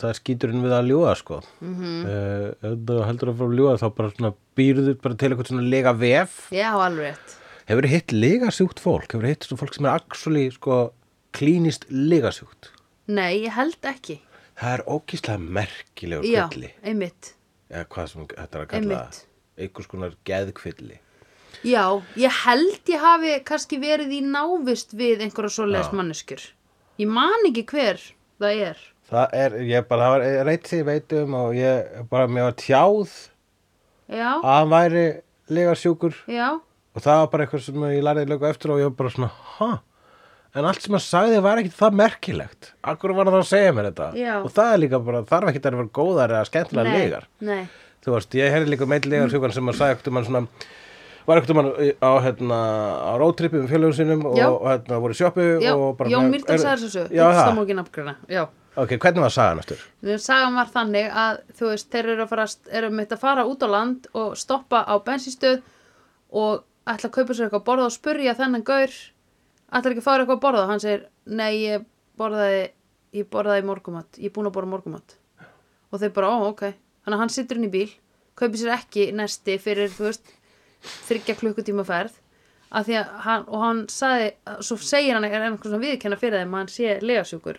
Speaker 1: það er skíturinn við að ljúga sko mm
Speaker 2: Mhm.
Speaker 1: -hmm. ef þú heldur að fara að ljúga þá bara svona býrðu bara til eitthvað svona lega vef
Speaker 2: Já, alveg rétt.
Speaker 1: hefur hitt lega sjúkt fólk hefur hitt svona fólk sem er actually sko klínist lega sjúkt
Speaker 2: Nei, ég held ekki.
Speaker 1: það er ókíslega merkilegur
Speaker 2: Já,
Speaker 1: kvilli
Speaker 2: einmitt.
Speaker 1: eða hvað sem þetta er að kalla
Speaker 2: Einmitt.
Speaker 1: það. einhvers konar geðkvilli
Speaker 2: Já, ég held ég hafi kannski verið í návist við einhverja svoleiðis manneskjur. Ég man ekki hver það er.
Speaker 1: það er, ég bara, það var reitt sem ég veit um og ég bara, mér var tjáð
Speaker 2: Já,
Speaker 1: að hann væri legarsjúkur
Speaker 2: já.
Speaker 1: og það var bara eitthvað sem ég lærði lögu eftir og ég var bara svona, ha? En allt sem hann sagði var ekkit það merkilegt. Akkur var hann þá að segja mér þetta?
Speaker 2: Já.
Speaker 1: Og það er líka bara, þarf ekkit að vera góðar eða skemmtilega
Speaker 2: Nei,
Speaker 1: legar.
Speaker 2: Nei,
Speaker 1: Þú veist, ég heyrði líka um meitt legarsjúkan sem hann sagði ekkert um hann svona, var ekkert um hann á, hérna, á rótrippi með fjölugum sínum og,
Speaker 2: Já.
Speaker 1: hérna, voru í sjoppu
Speaker 2: já,
Speaker 1: og bara...
Speaker 2: Jón
Speaker 1: með-
Speaker 2: Myrdal
Speaker 1: er-
Speaker 2: sagði þessu
Speaker 1: Já,
Speaker 2: það
Speaker 1: það.
Speaker 2: má ekki nafngreina já.
Speaker 1: Ok, hvernig var sagan eftir?
Speaker 2: Sagan var þannig að þú veist, þeir eru að fara eru meitt að fara út á land og stoppa á bensinstöð og ætla að kaupa sér eitthvað að borða og spurja þennan gaur ætla ekki að fara eitthvað að borða hann segir, nei, ég borðaði ég borðaði morgumat, ég er búin að borða morgumat og þeir bara, ó, ok þannig að hann situr inn í bíl, kaupir sér ekki nesti fyrir, þú veist, þryggja klukkutíma ferð af því að hann, og hann sagði, svo segir hann er einhvern svona viðkenna fyrir þeim að hann sé legasjúkur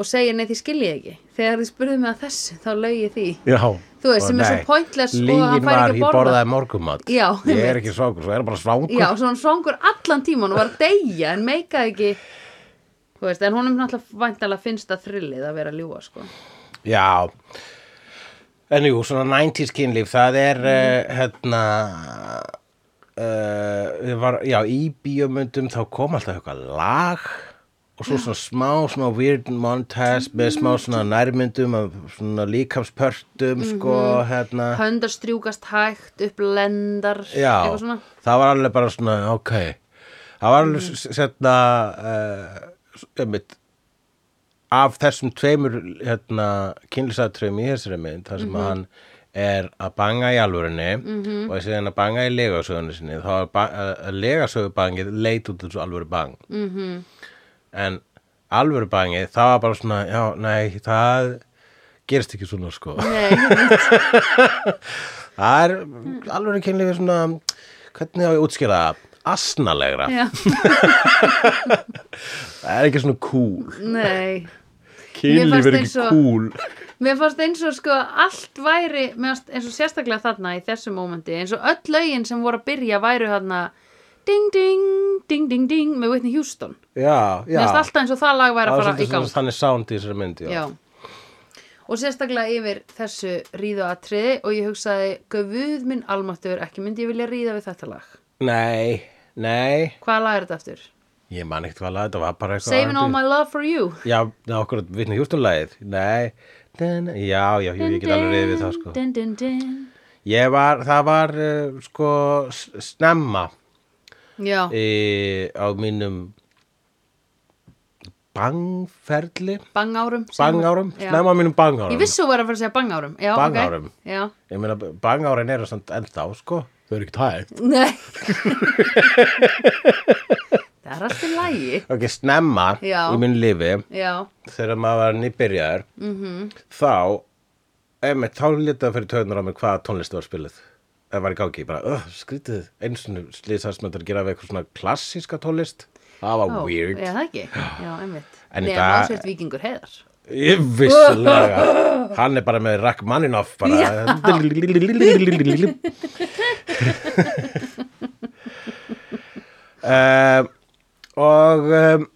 Speaker 2: og segir nei því skil ég ekki þegar þið spurðum mig að þessu þá laug ég því
Speaker 1: Já.
Speaker 2: Þú veist,
Speaker 1: Og
Speaker 2: sem er svo
Speaker 1: nei,
Speaker 2: pointless og
Speaker 1: lygin
Speaker 2: hann fær
Speaker 1: var,
Speaker 2: ekki að
Speaker 1: ég
Speaker 2: borða.
Speaker 1: borðaði morgumat
Speaker 2: Já,
Speaker 1: Ég
Speaker 2: einmitt.
Speaker 1: er ekki svangur, svo er bara svangur
Speaker 2: já, svo hann svangur allan tíman og var að deyja en meikaði ekki þú veist, en honum náttúrulega væntalega finnst það thrillið að vera að ljúga sko.
Speaker 1: Já En jú, svona 90s kynlíf það er uh, hérna uh, var, já, í bíómyndum þá kom alltaf eitthvað lag og svo svona smá, smá weird montage með smá svona nærmyndum af svona líkamspörtum sko, hérna
Speaker 2: höndar strjúkast hægt upp lendar,
Speaker 1: Já,
Speaker 2: eitthvað svona
Speaker 1: það var alveg bara svona, ok Það var alveg mm. setna uh, einmitt, af þessum tveimur hérna, kynlisatröfum í þessari mynd þar sem
Speaker 2: Mhm.
Speaker 1: hann er að banga í alvörunni og þessi hann að banga í legasögunni sinni þá er ba- eh, legasögubangið leit út þessu alvöru bang
Speaker 2: mhm,
Speaker 1: en alvöru bangið það var bara svona, já, nei, það gerist ekki svona sko
Speaker 2: nei, einmitt.
Speaker 1: Það er alveg kynlífi svona, hvernig á ég að útskýra það? Asnalegra.
Speaker 2: já,
Speaker 1: Það er ekki svona cool.
Speaker 2: nei Mér fannst
Speaker 1: Kynlífi er ekki
Speaker 2: eins og-
Speaker 1: cool.
Speaker 2: Mér fannst eins og sko allt væri mér fannst eins og sérstaklega þarna í þessu mómenti eins og öll lögin sem voru að byrja væru þarna ding ding ding ding ding með Whitney Houston
Speaker 1: Já, já.
Speaker 2: Mér fannst alltaf eins og það lag væri
Speaker 1: Það var
Speaker 2: að fara
Speaker 1: svolítið
Speaker 2: í gang
Speaker 1: svona Þannig sound í þessari mynd, já.
Speaker 2: Já Og sérstaklega yfir þessu ríðu atriði og ég hugsaði Guð minn almáttur ekki myndi ég vilja ríða við þetta lag
Speaker 1: Nei, nei.
Speaker 2: Hvaða lag er þetta aftur?
Speaker 1: Ég man ekkert hvað að þetta var bara eitthvað.
Speaker 2: Saving all
Speaker 1: R&B.
Speaker 2: my love for you
Speaker 1: Já, það var okkur að vitna hjústunlægið. Nei. Dun, já, já, jú, ég get alveg reyðið við það, sko.
Speaker 2: Din, din, din.
Speaker 1: Ég var, það var, uh, sko, s- snemma
Speaker 2: Já,
Speaker 1: Eh, í, á mínum bangferli.
Speaker 2: bang árum
Speaker 1: bangárum, snemma á mínum bangárum
Speaker 2: Ég vissi þú var að fara að segja bangárum Já, ok.
Speaker 1: Bangárum.
Speaker 2: Já,
Speaker 1: ég meina bangárin eru samt ennþá sko þau eru ekki tægt
Speaker 2: nei Það er allt í lægi
Speaker 1: ok, snemma
Speaker 2: Já.
Speaker 1: í mínu lífi
Speaker 2: Já,
Speaker 1: þegar maður var nýbyrjaður
Speaker 2: Mhm.
Speaker 1: -hmm. þá einmitt, þá litaði fyrir töðnur á mig hvaða tónlist var spiluð það var í gangi, bara, öh, skrítið eins og slýsast með þetta að gera við eitthvað svona klassíska tónlist það var
Speaker 2: Ó,
Speaker 1: weird
Speaker 2: Já, það ekki Já, einmitt
Speaker 1: En í
Speaker 2: Nei,
Speaker 1: dag-
Speaker 2: ásveit vikingur heiðar
Speaker 1: Ég vissulega Hann er bara með Rachmaninoff bara um, Og um,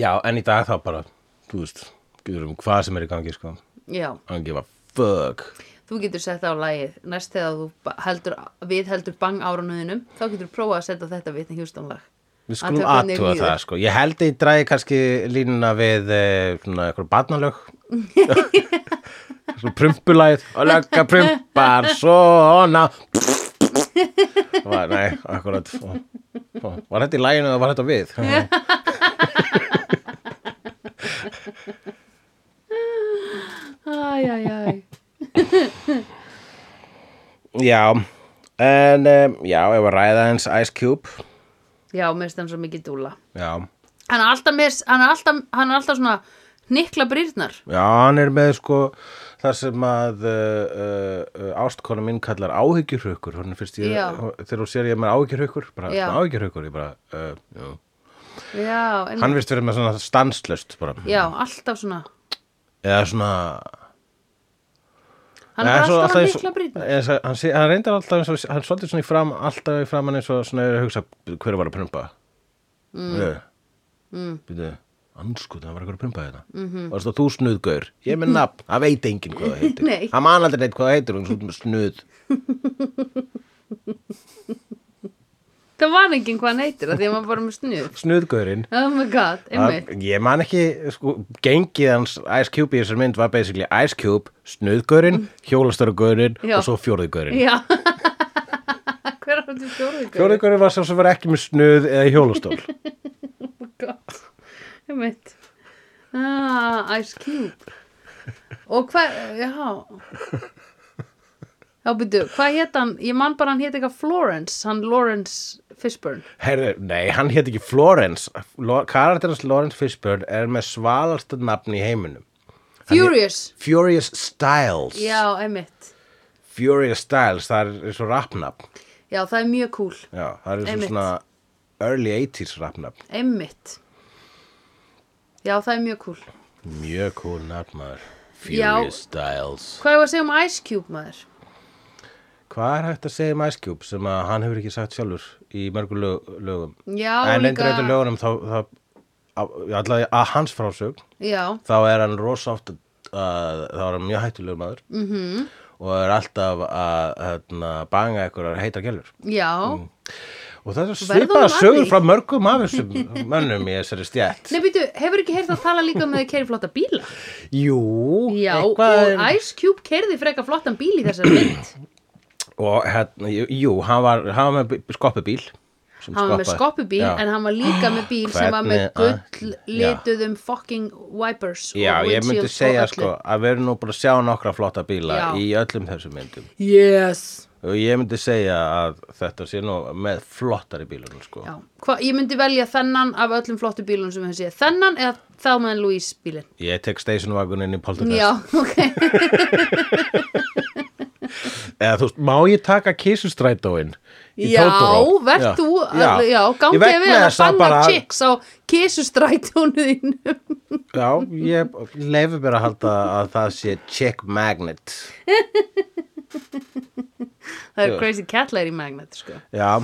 Speaker 1: Já, en í dag þá bara Þú veist, getur um hvað sem er í gangi sko
Speaker 2: Já
Speaker 1: Hann gefa fuck
Speaker 2: Þú getur sett á lagið næst þegar þú ba- heldur, við heldur bang áranuðinum þá getur þú prófað að setja þetta vitni hjústónlag.
Speaker 1: Við skulum
Speaker 2: Athuga hvernig
Speaker 1: aðtúa
Speaker 2: líður.
Speaker 1: það sko Ég held að ég dræði kannski línuna við eh, svona eitthvað barnalög Svo prumpulæð og lögga prumpar svona var, Nei, akkurat Var þetta í læginu eða var þetta við?
Speaker 2: Æj, æj, æj.
Speaker 1: Já En um, já, ef að ræða eins Ice Cube
Speaker 2: Já, mér finnst hann svo mikið dúla.
Speaker 1: Já,
Speaker 2: Hann er alltaf, með, hann er alltaf, hann er alltaf svona nikla brýrnar.
Speaker 1: já hann er með sko þar sem að uh, uh, uh, ástkona minn kallar áhyggjurhaukur Þannig fyrst ég,
Speaker 2: Já.
Speaker 1: þegar hún sér ég með áhyggjurhaukur bara
Speaker 2: Já.
Speaker 1: áhyggjurhaukur, ég bara uh, já.
Speaker 2: Já, en,
Speaker 1: Hann virst verið með svona stanslust bara.
Speaker 2: já, alltaf svona.
Speaker 1: eða svona
Speaker 2: Hann er
Speaker 1: Nei,
Speaker 2: bara
Speaker 1: svo
Speaker 2: alltaf
Speaker 1: eins og-
Speaker 2: hann nikla brýrnar.
Speaker 1: eins og- hann, sé- hann reyndar alltaf eins og, hann er svolítið svona í fram, alltaf í framan eins og svona er að hugsa hver var að prumpa mm. mm. byrju anskuð, það var eitthvað að prumpa þetta mm
Speaker 2: Mhm.
Speaker 1: -hmm. og það þú snuðgaur, ég er með nafn það veit enginn hvað það
Speaker 2: Nei.
Speaker 1: heitir hann man aldrei neitt hvað það heitir, hún er svona snuð
Speaker 2: Það var enginn hvað hann heitir að því að maður bara með snuð.
Speaker 1: snuðgaurinn
Speaker 2: Oh my god, einmitt.
Speaker 1: Að- Ég man ekki, sko, gengið hans Ice Cube í þessar mynd var basically Ice Cube, snuðgaurinn, hjólastörugaurinn
Speaker 2: Mm. Já.
Speaker 1: og svo fjóruðgaurinn
Speaker 2: Já. Hver er hann til fjóruðgur?
Speaker 1: Fjóruðgaurinn var sá sem var ekki með snuð eða hjólastól.
Speaker 2: gott einmitt ah, Ice Cube og hvað, já já, byrju, hvað hétt hann ég man bara hann hétt eitthvað Florence hann Lawrence Fishburne
Speaker 1: Herðu, nei, hann hétt ekki Florence. Lo- Karakterans Lawrence Fishburne er með svalasta nafn í heiminum.
Speaker 2: Furious,
Speaker 1: Furious Styles.
Speaker 2: já, einmitt
Speaker 1: Furious Styles, það er eins og rapnafn.
Speaker 2: já, það er mjög cool
Speaker 1: Já, það eru svo
Speaker 2: Einmitt.
Speaker 1: svona early 80s rapnafn.
Speaker 2: einmitt já, það er mjög cool
Speaker 1: Mjög cool nafnmaður.
Speaker 2: Já.
Speaker 1: Furious Styles.
Speaker 2: hvað er að segja um Ice Cube maður?
Speaker 1: Hvað er hægt að segja um Ice Cube sem að hann hefur ekki sagt sjálfur í mörgum lög, lögum?
Speaker 2: já,
Speaker 1: en
Speaker 2: líka
Speaker 1: endur þetta lögunum þá, þá á- allavega að hans frásögn
Speaker 2: já,
Speaker 1: þá er hann rosáft uh, þá er hann mjög hættulegur maður -hmm.
Speaker 2: Mhm.
Speaker 1: og er alltaf að hérna, banga einhverjar heitar gælur
Speaker 2: já
Speaker 1: og það er
Speaker 2: Verðum að
Speaker 1: svipaða sögur
Speaker 2: því.
Speaker 1: frá mörgum af þessum mönnum í þessari stjætt
Speaker 2: Nei, býtu, hefur ekki heyrt að tala líka um að þið keiri flotta bíla?
Speaker 1: Jú,
Speaker 2: Já,
Speaker 1: eitthvað
Speaker 2: og Ice Cube keirði freka flottan bíl í þessari mynd.
Speaker 1: og hérna, jú, hann var, hann var með skoppubíl sem
Speaker 2: Hann var með
Speaker 1: skoppaði.
Speaker 2: skoppubíl,
Speaker 1: Já.
Speaker 2: en hann var líka með bíl sem var með
Speaker 1: Hvernig að-
Speaker 2: gull lituðum fucking wipers og
Speaker 1: Já, ég myndi
Speaker 2: windshields
Speaker 1: segja
Speaker 2: og öllu.
Speaker 1: sko að við erum nú bara að sjá nokkra flotta bíla
Speaker 2: Já.
Speaker 1: í öllum þessum myndum
Speaker 2: Yes!
Speaker 1: og ég myndi segja að þetta sé nú með flottari bílunum sko
Speaker 2: Já, Hva, ég myndi velja þennan af öllum flottu bílunum sem við séð. Þennan eða þá meðan Louise bílinn.
Speaker 1: ég tek stationvagunin í
Speaker 2: Já,
Speaker 1: Poltergeist
Speaker 2: ok.
Speaker 1: eða þú veist, má ég taka kísustrætóin í
Speaker 2: Já,
Speaker 1: Totoro?
Speaker 2: verð þú, já, já
Speaker 1: Ég
Speaker 2: gangið
Speaker 1: veit
Speaker 2: við
Speaker 1: með
Speaker 2: að
Speaker 1: þess
Speaker 2: fanga bara...
Speaker 1: bara-
Speaker 2: chicks á kisustrætónu þínum.
Speaker 1: Já, ég leifi mér að halda að það sé chick magnet
Speaker 2: Það er crazy cat lady magnet, sko.
Speaker 1: Já,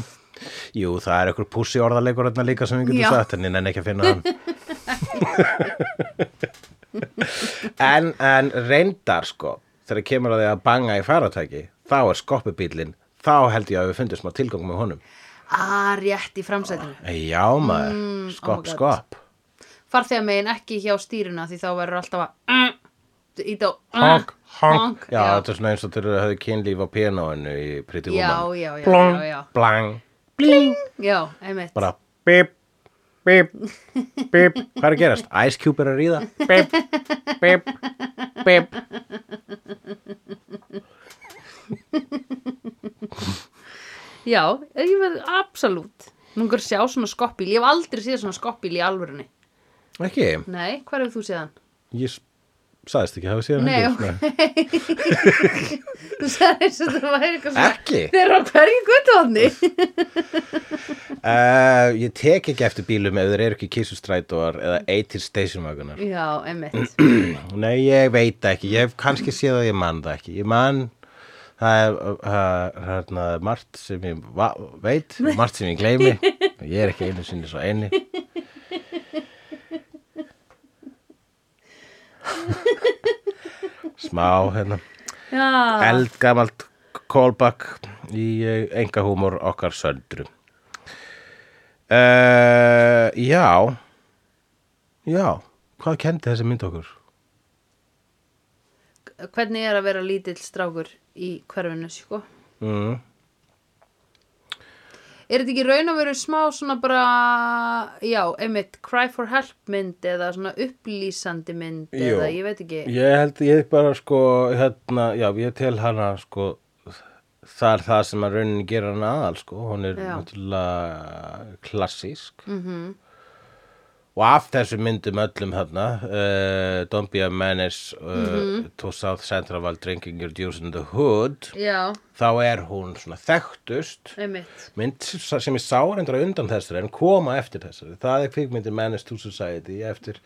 Speaker 1: jú, það er einhver pussi orðarleikur hérna líka sem við
Speaker 2: Já.
Speaker 1: getum sagt en ég nenni ekki að finna hann en, en reyndar sko þegar kemur að því að banga í faratæki þá er skoppubílinn þá held ég að við fundum smá tilgang með honum
Speaker 2: Á, Ah, rétt í framsætinu.
Speaker 1: Já maður,
Speaker 2: oh
Speaker 1: skopp,
Speaker 2: my God.
Speaker 1: skopp
Speaker 2: Farþegar megin ekki hjá stýruna því þá verður alltaf að uh, ít á uh,
Speaker 1: Honk, honk Já,
Speaker 2: Já,
Speaker 1: þetta er svona eins og þeir höfðu kynlíf á pianoinu í Pretty
Speaker 2: Já,
Speaker 1: Woman
Speaker 2: já, já,
Speaker 1: Blong,
Speaker 2: já, já.
Speaker 1: blang,
Speaker 2: já einmitt.
Speaker 1: bara bip, bip, bip hvað er að gerast? Ice Cube er að ríða bip, bip, bip
Speaker 2: Já, ég verður absolutt. Núngur sjá svona skoppbíl. Ég hef aldrei séð svona skoppbíl í alvörunni.
Speaker 1: ekki,
Speaker 2: Nei, hvað hefur þú séð hann?
Speaker 1: ég s- sagðist ekki hafa síðan
Speaker 2: Nei, Þú sagði eins og það væri eitthvað svona...
Speaker 1: Ekki?
Speaker 2: Þeir eru á hverju guttóðni.
Speaker 1: uh, ég tek ekki eftir bílum ef þeir eru ekki kísustrætóar eða 80 stationvagunar
Speaker 2: Já, einmitt.
Speaker 1: nei, ég veit ekki, ég hef kannski séð að ég man það ekki, ég man það er uh, hérna, margt sem ég va- veit og margt sem ég gleymi ég er ekki einu sinni svo eini smá hérna
Speaker 2: Já,
Speaker 1: eldgamalt callback í enga húmor okkar söndru uh, Já Já Hvað kendi þessi mynd okkur?
Speaker 2: hvernig er að vera lítill strákur í hverfinu, sko?
Speaker 1: Mm.
Speaker 2: Er þetta ekki í raun að vera smá svona bara, já, einmitt, cry for help mynd eða svona upplýsandi mynd
Speaker 1: Jú.
Speaker 2: eða ég veit ekki.
Speaker 1: Ég held ég bara sko hérna, já, ég tel hana sko það er það sem að rauninni gera hana aðal sko, hún er
Speaker 2: Já.
Speaker 1: náttúrulega klassísk -hmm. og af þessu myndum öllum þarna uh, Don't be a menace uh, to South Central while drinking your juice in the hood
Speaker 2: Já,
Speaker 1: þá er hún svona þekktust
Speaker 2: einmitt.
Speaker 1: mynd sem ég sá reyndra undan þessari en koma eftir þessari það er kvikmyndin Menace to Society eftir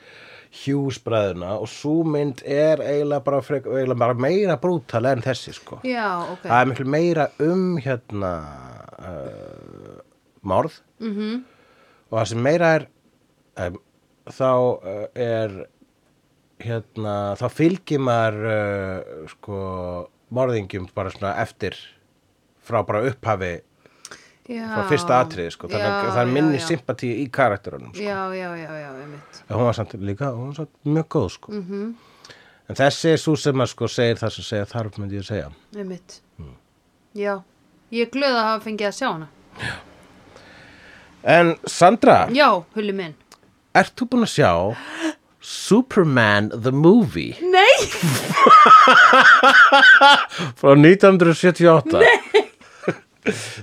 Speaker 1: Hughes bræðuna og svo mynd er eiginlega bara, frek, eiginlega bara meira brútal en þessi sko
Speaker 2: Já, ok.
Speaker 1: það er miklu meira um hérna uh, morð -hmm. og það sem meira er um, þá uh, er hérna þá fylgir maður uh, sko morðingjum bara svona eftir frá bara upphafi
Speaker 2: já,
Speaker 1: frá fyrsta atriði sko þannig að það er minni
Speaker 2: já, já.
Speaker 1: sympatíu í karakterunum sko.
Speaker 2: Já, já, já, já, einmitt.
Speaker 1: En hún var samt líka, hún var samt mjög góð sko -hmm.
Speaker 2: Mhm.
Speaker 1: en þessi er svo sem að sko segir það sem segja þarf myndi ég að segja
Speaker 2: Einmitt.
Speaker 1: Hmm.
Speaker 2: Já, ég er glöð að hafa fengið að sjá hana.
Speaker 1: en Sandra
Speaker 2: Já, hulli minn.
Speaker 1: Ert þú búin að sjá Superman the Movie
Speaker 2: Nei!
Speaker 1: frá 1978? Nei!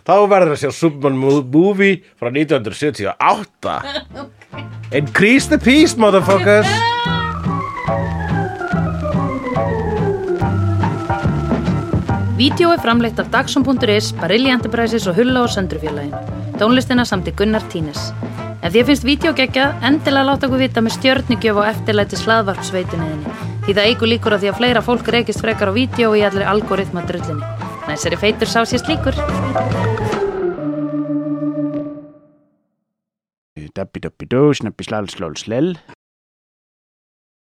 Speaker 1: Þá verður að sjá Superman mo- Movie frá 1978. Increase the peace, motherfuckers!
Speaker 2: Vídeó er framleitt af Dagsum.is, Barilli Enterprises og Hulla og Söndrufjörlægin. Tónlistina samt í Gunnar Tínes. Ef því finnst vídeo geggja, endilega láta okkur vita með stjörnigjöf og eftirlæti slaðvarpsveituninni. Því það eigur líkur að því að fleira fólk reykist frekar á vídeo í allir algoritma drullinni. Næsari feitur sá sér slíkur.
Speaker 3: Dabbi dabbi dó, snabbi slal slal slel